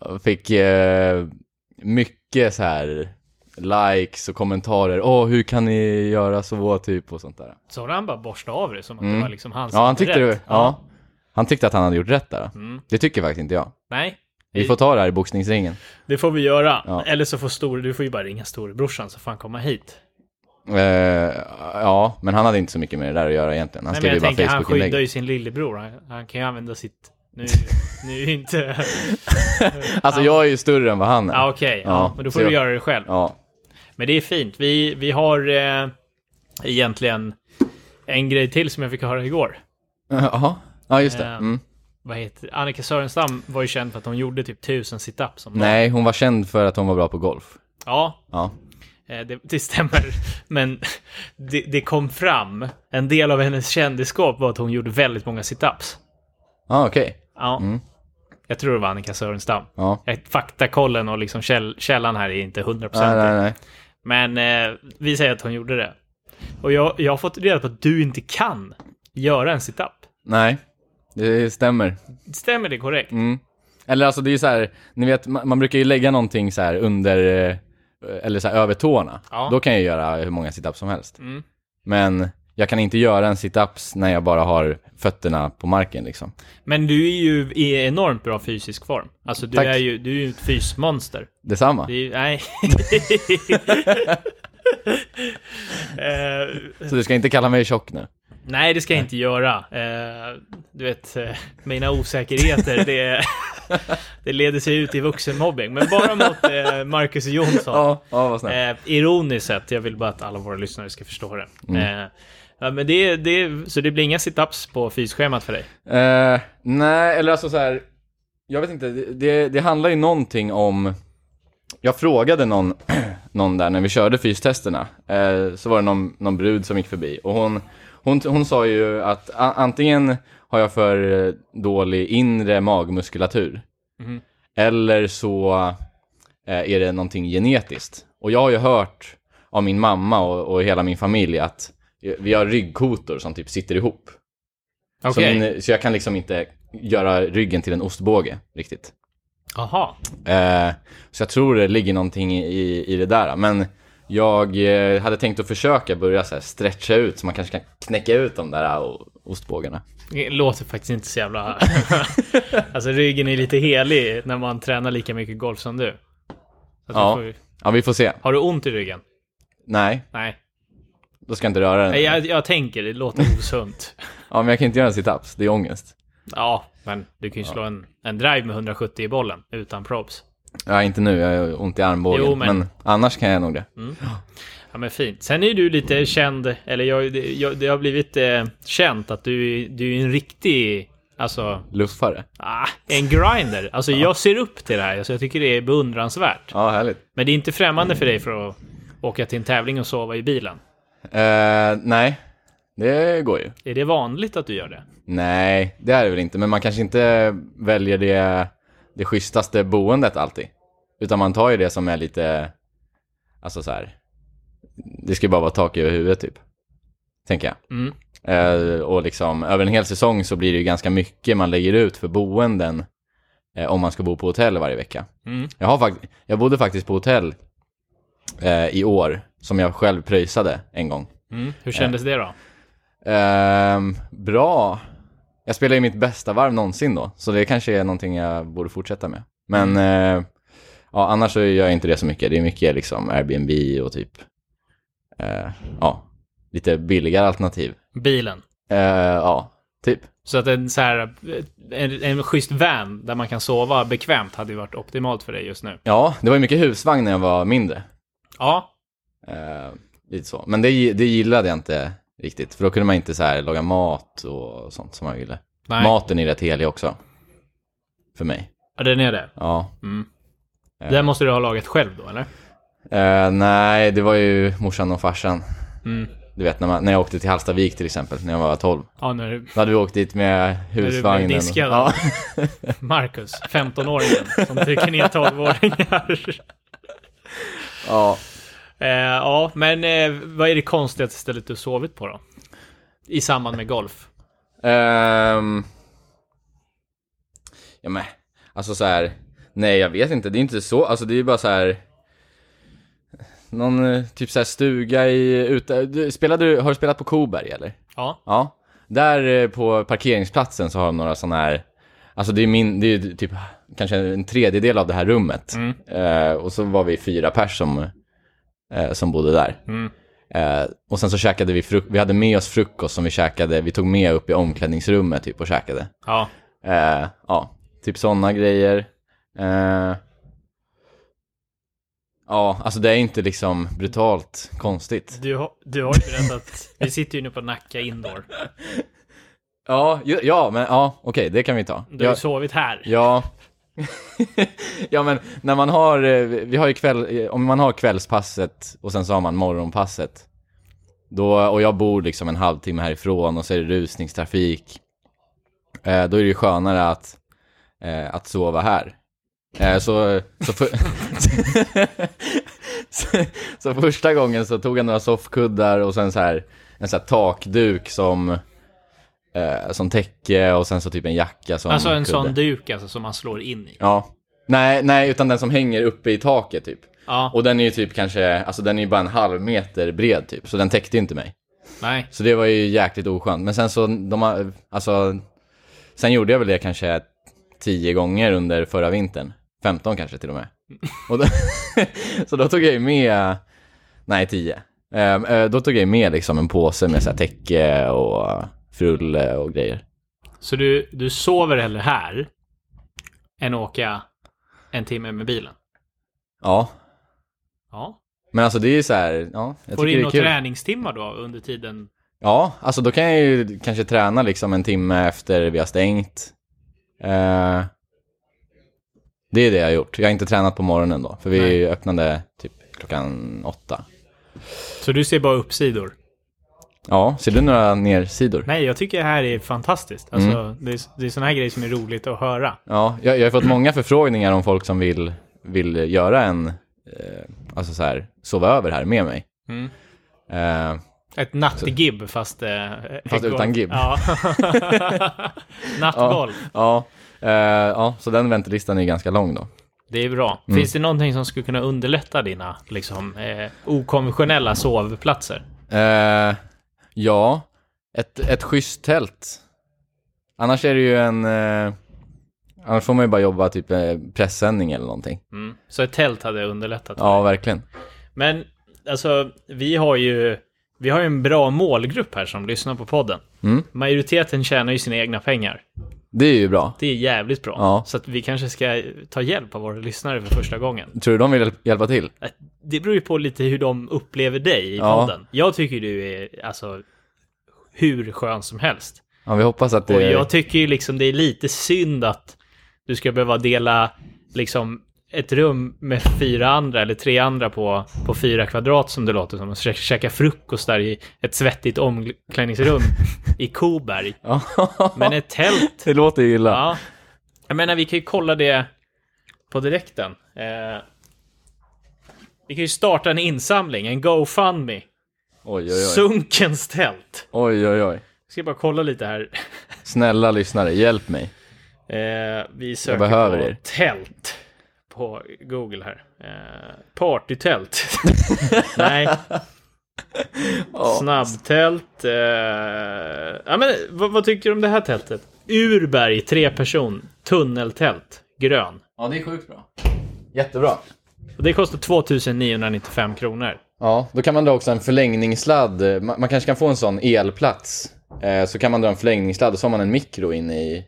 Speaker 3: Och Fick eh, mycket så här likes och kommentarer. Åh, hur kan ni göra så, typ och sånt där.
Speaker 1: Så har han bara borstat av det som att det var liksom hans
Speaker 3: Mm. Ja, han tyckte,
Speaker 1: rätt.
Speaker 3: det, ja, han tyckte att han hade gjort rätt där. Det tycker faktiskt inte jag.
Speaker 1: Nej,
Speaker 3: Vi får ta det här i boxningsringen.
Speaker 1: det får vi göra.
Speaker 3: Ja.
Speaker 1: Eller så får stor, du får ju bara ringa storebrorsan så får han komma hit.
Speaker 3: Eh, ja, men han hade inte så mycket med det där att göra egentligen. Han
Speaker 1: Nej,
Speaker 3: skrev
Speaker 1: men
Speaker 3: ju
Speaker 1: jag
Speaker 3: bara
Speaker 1: tänker han skyddar
Speaker 3: Facebook-inlägg.
Speaker 1: ju sin lillebror. Han, han kan ju använda sitt... Nu, nu är ju inte...
Speaker 3: Alltså jag är ju större än vad han är.
Speaker 1: Ja, Ah, okej. Ja,
Speaker 3: Ja,
Speaker 1: men då
Speaker 3: så
Speaker 1: får du
Speaker 3: jag-
Speaker 1: göra det själv.
Speaker 3: Ja,
Speaker 1: Men det är fint. Vi, vi har eh, egentligen en grej till som jag fick höra igår.
Speaker 3: Jaha. ja just det.
Speaker 1: Eh,
Speaker 3: Mm.
Speaker 1: Vad heter Annika Sörenstam var ju känd för att hon gjorde typ tusen situps om dagen.
Speaker 3: Nej, hon var känd för att hon var bra på golf.
Speaker 1: Ja,
Speaker 3: Ja,
Speaker 1: eh, det, det stämmer. Men det, det kom fram. En del av hennes kändisskap var att hon gjorde väldigt många situps.
Speaker 3: ah, okej.
Speaker 1: Ja. Jag tror det var Annika Sörenstam.
Speaker 3: Ja.
Speaker 1: Jag- Faktakollen och liksom käll, källan här är inte hundraprocentig.
Speaker 3: Nej, nej, nej.
Speaker 1: Men eh, vi säger att hon gjorde det. Och jag, jag har fått reda på att du inte kan göra en situp.
Speaker 3: Nej, det stämmer.
Speaker 1: Stämmer det korrekt?
Speaker 3: Mm. Eller alltså det är ju så här, ni vet, man, man brukar ju lägga någonting så här under, eh, eller så här över tårna.
Speaker 1: Ja. Mm.
Speaker 3: Då kan jag göra hur många situps som helst. Men jag kan inte göra en situps när jag bara har fötterna på marken liksom.
Speaker 1: Men du är ju i enormt bra fysisk form. Alltså du
Speaker 3: Tack.
Speaker 1: är ju, du är ju ett fysmonster.
Speaker 3: Detsamma.
Speaker 1: Det är, ju- nej. Eh,
Speaker 3: Så du ska inte kalla mig tjock nu.
Speaker 1: nej, det ska jag inte göra. Eh, du vet, eh, mina osäkerheter, det, det leder sig ut i vuxenmobbing. Men bara mot eh, Marcus Jonsson.
Speaker 3: Ja, ja vad snällt.
Speaker 1: Eh, ironiskt sett, jag vill bara att alla våra lyssnare ska förstå det.
Speaker 3: Mm.
Speaker 1: Eh, ja, men det, det. Så det blir inga situps på fysschemat för dig?
Speaker 3: Eh, nej, eller alltså så här. Jag vet inte, det- det, det handlar ju någonting om... Jag frågade någon, någon där när vi körde fystesterna, eh, så var det någon, någon brud som gick förbi och hon, hon, hon sa ju att a- antingen har jag för eh, dålig inre magmuskulatur eller så eh, är det någonting genetiskt. Och jag har ju hört av min mamma och, och hela min familj att eh, vi har ryggkotor som typ sitter ihop. Så, min, så jag kan liksom inte göra ryggen till en ostbåge riktigt.
Speaker 1: Jaha.
Speaker 3: Eh, så jag tror det ligger någonting i, i det där. Men jag eh, hade tänkt att försöka börja så här stretcha ut så man kanske kan knäcka ut de där eh, ostbågarna.
Speaker 1: Det låter faktiskt inte så jävla... alltså ryggen är lite helig när man tränar lika mycket golf som du. Så att du
Speaker 3: Ja.
Speaker 1: får...
Speaker 3: Ja, vi får se.
Speaker 1: Har du ont i ryggen?
Speaker 3: Nej,
Speaker 1: Nej.
Speaker 3: då ska jag inte röra
Speaker 1: Nej,
Speaker 3: den.
Speaker 1: jag, jag tänker, det låter osunt.
Speaker 3: Ja, men jag kan inte göra en situps. Det är ångest.
Speaker 1: ja, men du kan ju slå en, en drive med 170 i bollen utan props.
Speaker 3: Ja, inte nu. Jag har ont i armbågen.
Speaker 1: Jo, men- Mm.
Speaker 3: men... annars kan jag nog det.
Speaker 1: Ja, men fint. Sen är du lite känd, eller jag, det- jag, det har blivit eh, känt att du, du är en riktig, alltså,
Speaker 3: Luffare.
Speaker 1: ah, en grinder. Alltså jag ser upp till det här, alltså, jag tycker det är beundransvärt.
Speaker 3: Ja, härligt.
Speaker 1: Men det är inte främmande för dig för att åka till en tävling och sova i bilen.
Speaker 3: Eh, nej, det går ju.
Speaker 1: Är det vanligt att du gör det?
Speaker 3: Nej, det är det väl inte. Men man kanske inte väljer det, det schysstaste boendet alltid. Utan man tar ju det som är lite, alltså så här, det ska ju bara vara tak över huvudet typ. Tänker jag.
Speaker 1: Mm.
Speaker 3: Eh, och liksom, över en hel säsong så blir det ju ganska mycket man lägger ut för boenden eh, om man ska bo på hotell varje vecka.
Speaker 1: Mm.
Speaker 3: Jag, har fakt- jag bodde faktiskt på hotell eh, i år, som jag själv pröjsade en gång.
Speaker 1: Hur kändes det då?
Speaker 3: Ehm, bra. Jag spelar ju mitt bästa varv någonsin då, så det kanske är någonting jag borde fortsätta med. Men eh, ja, annars så gör jag inte det så mycket. Det är mycket liksom Airbnb och typ, eh, ja, lite billigare alternativ.
Speaker 1: Bilen.
Speaker 3: Eh, ja, typ.
Speaker 1: Så att en så här, en, en schysst van där man kan sova bekvämt hade ju varit optimalt för dig just nu.
Speaker 3: Ja, det var ju mycket husvagn när jag var mindre.
Speaker 1: Ja,
Speaker 3: Eh, lite så. Men det, det gillade jag inte riktigt, för då kunde man inte så här laga mat och sånt som man ville.
Speaker 1: nej.
Speaker 3: Maten är rätt helig också, för mig.
Speaker 1: Ja, Den är det.
Speaker 3: Ja.
Speaker 1: Det där måste du ha lagat själv då, eller?
Speaker 3: Eh, nej, det var ju morsan och farsan.
Speaker 1: Mm.
Speaker 3: Du vet, när, man, när jag åkte till Hallstavik till exempel, när jag var 12.
Speaker 1: Ja, när du-
Speaker 3: Då hade vi åkt dit med
Speaker 1: blev
Speaker 3: husvagnen. och-
Speaker 1: diskad.
Speaker 3: Ja.
Speaker 1: Marcus, 15-åringen, som trycker ner 12-åringar.
Speaker 3: ja.
Speaker 1: Eh, ja, men eh, vad är det konstigaste stället du sovit på då? I samband med golf?
Speaker 3: Ehm. ja men, alltså så här. Nej jag vet inte, det är inte så, alltså det är ju bara så här. Någon eh, typ så här stuga i, ute, du, spelade du, har du spelat på Koberg eller?
Speaker 1: Ja.
Speaker 3: Ja. Där eh, på parkeringsplatsen så har de några sådana här, alltså det är min, det är ju typ kanske en tredjedel av det här rummet.
Speaker 1: Mm.
Speaker 3: Eh, och så var vi fyra pers som, eh, som bodde där.
Speaker 1: Mm.
Speaker 3: Eh, och sen så käkade vi, fruk- vi hade med oss frukost som vi käkade, vi tog med upp i omklädningsrummet typ och käkade.
Speaker 1: Ja.
Speaker 3: Eh, ja, typ sådana grejer. Eh, ja, alltså det är inte liksom brutalt konstigt.
Speaker 1: Du, har- du har ju berättat, vi sitter ju nu på Nacka Indoor.
Speaker 3: Ja, ju, ja men ja, okej, det kan vi ta.
Speaker 1: Du har
Speaker 3: Ja,
Speaker 1: ju sovit här.
Speaker 3: ja. ja, men när man har, eh, vi har ju kväll, eh, om man har kvällspasset och sen så har man morgonpasset. Då, och jag bor liksom en halvtimme härifrån och så är det rusningstrafik. Eh, då är det ju skönare att, eh, att sova här. Eh, så, så, för, så, så första gången så tog jag några soffkuddar och sen så här, en så här takduk som, eh, som täcke och sen så typ en jacka som
Speaker 1: Alltså en
Speaker 3: kudde.
Speaker 1: sån duk alltså som man slår in i.
Speaker 3: Ja. Nej, nej, utan den som hänger uppe i taket typ.
Speaker 1: Ja,
Speaker 3: Och den är ju typ kanske, alltså den är ju bara en halv meter bred typ, så den täckte ju inte mig.
Speaker 1: nej.
Speaker 3: Så det var ju jäkligt oskönt. Men sen så, de har, alltså, sen gjorde jag väl det kanske tio gånger under förra vintern. 15 kanske till och med. Och då, så då tog jag ju med, nej tio. Ehm, eh, Då tog jag ju med liksom en påse med så här täcke och frulle och grejer.
Speaker 1: Så du, du sover hellre här än åka en timme med bilen?
Speaker 3: Ja,
Speaker 1: Ja.
Speaker 3: men alltså det är ju så här, ja, jag
Speaker 1: Får du
Speaker 3: tycker
Speaker 1: in
Speaker 3: det är
Speaker 1: några
Speaker 3: kul.
Speaker 1: träningstimmar då under tiden?
Speaker 3: Ja, alltså då kan jag ju kanske träna liksom en timme efter vi har stängt. Eh, det är det jag har gjort. Jag har inte tränat på morgonen då, för vi
Speaker 1: Nej.
Speaker 3: öppnade typ klockan åtta.
Speaker 1: Så du ser bara uppsidor?
Speaker 3: Ja, ser du några nersidor?
Speaker 1: Nej, jag tycker det här är fantastiskt. Alltså, det är, det är såna här grejer som är roligt att höra.
Speaker 3: Ja, jag, jag har fått många förfrågningar om folk som vill, vill göra en, eh, alltså så här, sova över här med mig.
Speaker 1: Mm.
Speaker 3: Eh,
Speaker 1: Ett nattgib fast... Eh,
Speaker 3: Fast
Speaker 1: golf.
Speaker 3: utan gib.
Speaker 1: Ja. Nattgolf.
Speaker 3: ja, eh, ja, så den väntelistan är ganska lång då.
Speaker 1: Det är bra.
Speaker 3: Mm.
Speaker 1: Finns det någonting som skulle kunna underlätta dina liksom, eh, okonventionella sovplatser?
Speaker 3: Eh, ja, ett, ett schysst tält. Annars är det ju en... Eh, annars får man ju bara jobba typ eh, pressändning eller någonting.
Speaker 1: Mm. Så ett tält hade underlättat.
Speaker 3: Ja, verkligen.
Speaker 1: Men alltså, vi har ju... Vi har ju en bra målgrupp här som lyssnar på podden.
Speaker 3: Mm.
Speaker 1: Majoriteten tjänar ju sina egna pengar.
Speaker 3: Det är ju bra.
Speaker 1: Det är jävligt bra.
Speaker 3: Ja.
Speaker 1: Så att vi kanske ska ta hjälp av våra lyssnare för första gången. Äh,
Speaker 3: Tror du de vill hjäl- hjälpa till?
Speaker 1: Det beror ju på lite hur de upplever dig i
Speaker 3: Ja.
Speaker 1: podden. Jag tycker du är alltså hur skön som helst.
Speaker 3: Ja, vi hoppas att
Speaker 1: Och
Speaker 3: det...
Speaker 1: jag tycker ju liksom det är lite synd att du ska behöva dela liksom ett rum med fyra andra eller tre andra på, på fyra kvadrat som det låter som. Och kä- käka frukost där i ett svettigt omklädningsrum i Koberg.
Speaker 3: Ja,
Speaker 1: Men ett tält
Speaker 3: det låter ju illa.
Speaker 1: Ja. Jag menar, vi kan ju kolla det på direkten. Eh, vi kan ju starta en insamling, en GoFundMe.
Speaker 3: Oj, oj, oj.
Speaker 1: Sunkens tält.
Speaker 3: Oj, oj, oj.
Speaker 1: Jag ska bara kolla lite här.
Speaker 3: Snälla lyssnare, hjälp mig.
Speaker 1: Eh, vi söker
Speaker 3: behöver
Speaker 1: på
Speaker 3: er.
Speaker 1: tält på Google här. Eh, partytält. Nej. Snabbtält. Eh, ja, men, vad, vad tycker du om det här tältet? Urberg, tre person, tunneltält, grön.
Speaker 3: Ja, det är sjukt bra. Jättebra.
Speaker 1: Och det kostar 2995 kronor.
Speaker 3: Ja, då kan man dra också en förlängningssladd. Man, man kanske kan få en sån elplats. Eh, så kan man dra en förlängningssladd och så har man en mikro in i...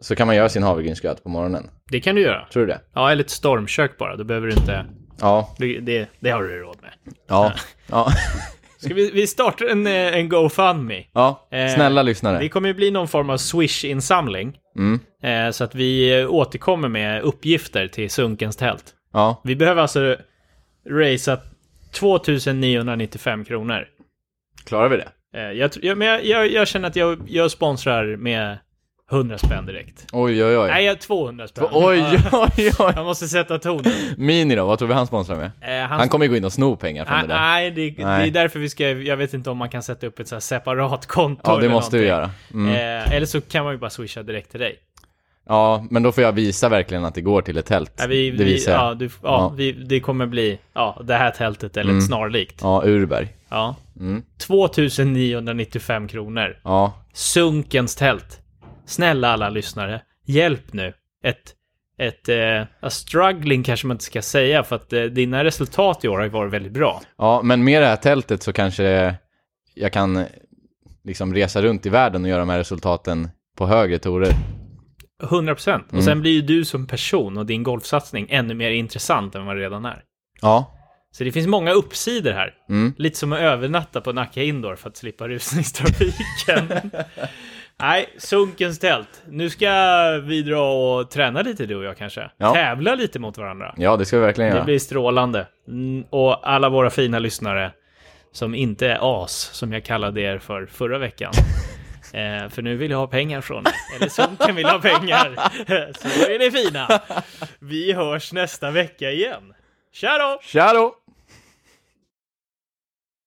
Speaker 3: Så kan man göra sin havregrynsgröt på morgonen.
Speaker 1: Det kan du göra.
Speaker 3: Tror du det?
Speaker 1: Ja, eller ett stormkök bara. Då behöver du inte...
Speaker 3: Ja.
Speaker 1: Det, det, det har du råd med.
Speaker 3: Ja. Ja.
Speaker 1: Ska vi, vi startar en, eh, en GoFundMe?
Speaker 3: ja.
Speaker 1: Eh,
Speaker 3: Snälla
Speaker 1: Det
Speaker 3: lyssnare.
Speaker 1: kommer ju bli någon form av Swish-insamling.
Speaker 3: Mm.
Speaker 1: Eh, så att vi återkommer med uppgifter till Sunkens tält.
Speaker 3: Ja.
Speaker 1: Vi behöver alltså racea 2995 kronor.
Speaker 3: Klarar vi det?
Speaker 1: Eh, Jag, tr- ja, men jag, jag, jag känner att jag, jag sponsrar med 100 spänn direkt.
Speaker 3: Oj, oj, oj.
Speaker 1: Nej, jag 200 spänn.
Speaker 3: Oj, oj, oj.
Speaker 1: Jag måste sätta tonen.
Speaker 3: Mini då, vad tror vi han sponsrar med?
Speaker 1: Eh, han- Ah,
Speaker 3: Han kommer ju gå in och sno pengar från
Speaker 1: Nej,
Speaker 3: det där.
Speaker 1: nej, det, det
Speaker 3: Nej.
Speaker 1: är därför vi ska, jag vet inte om man kan sätta upp ett så här separat konto
Speaker 3: Ja, det
Speaker 1: eller
Speaker 3: måste vi
Speaker 1: någonting.
Speaker 3: göra. Mm.
Speaker 1: Eh, eller så kan man ju bara swisha direkt till dig.
Speaker 3: Ja, men då får jag visa verkligen att det går till ett tält.
Speaker 1: Eh, vi,
Speaker 3: det
Speaker 1: vi,
Speaker 3: visar jag.
Speaker 1: ja,
Speaker 3: Ja,
Speaker 1: du, ja,
Speaker 3: Ja.
Speaker 1: Vi, det kommer bli ja, det här tältet eller snarlikt.
Speaker 3: Urberg.
Speaker 1: Ja.
Speaker 3: Mm.
Speaker 1: 2995 kronor.
Speaker 3: Ja,
Speaker 1: Sunkens tält. Snälla alla lyssnare, hjälp nu. Ett, ett eh, a struggling kanske man inte ska säga för att eh, dina resultat i år har ju varit väldigt bra.
Speaker 3: ja, men med det här tältet så kanske jag kan eh, liksom resa runt i världen och göra de här resultaten på högre torer.
Speaker 1: 100%.
Speaker 3: Mm.
Speaker 1: Och sen blir ju du som person och din golfsatsning ännu mer intressant än vad det redan är.
Speaker 3: Ja,
Speaker 1: Så det finns många uppsidor här.
Speaker 3: Mm.
Speaker 1: Lite som att övernatta på Nacka Indoor för att slippa rusningstrafiken. Nej, sunkens tält. Nu ska vi dra och träna lite du och jag kanske.
Speaker 3: Ja.
Speaker 1: Tävla lite mot varandra.
Speaker 3: ja det ska vi verkligen
Speaker 1: Det
Speaker 3: göra.
Speaker 1: blir strålande. Mm, Och alla våra fina lyssnare som inte är as, som jag kallade er för förra veckan. Eh, för nu vill jag ha pengar från er. Eller Sunken vill ha pengar. Så är ni fina. Vi hörs nästa vecka igen. Tja då!
Speaker 3: Tja då!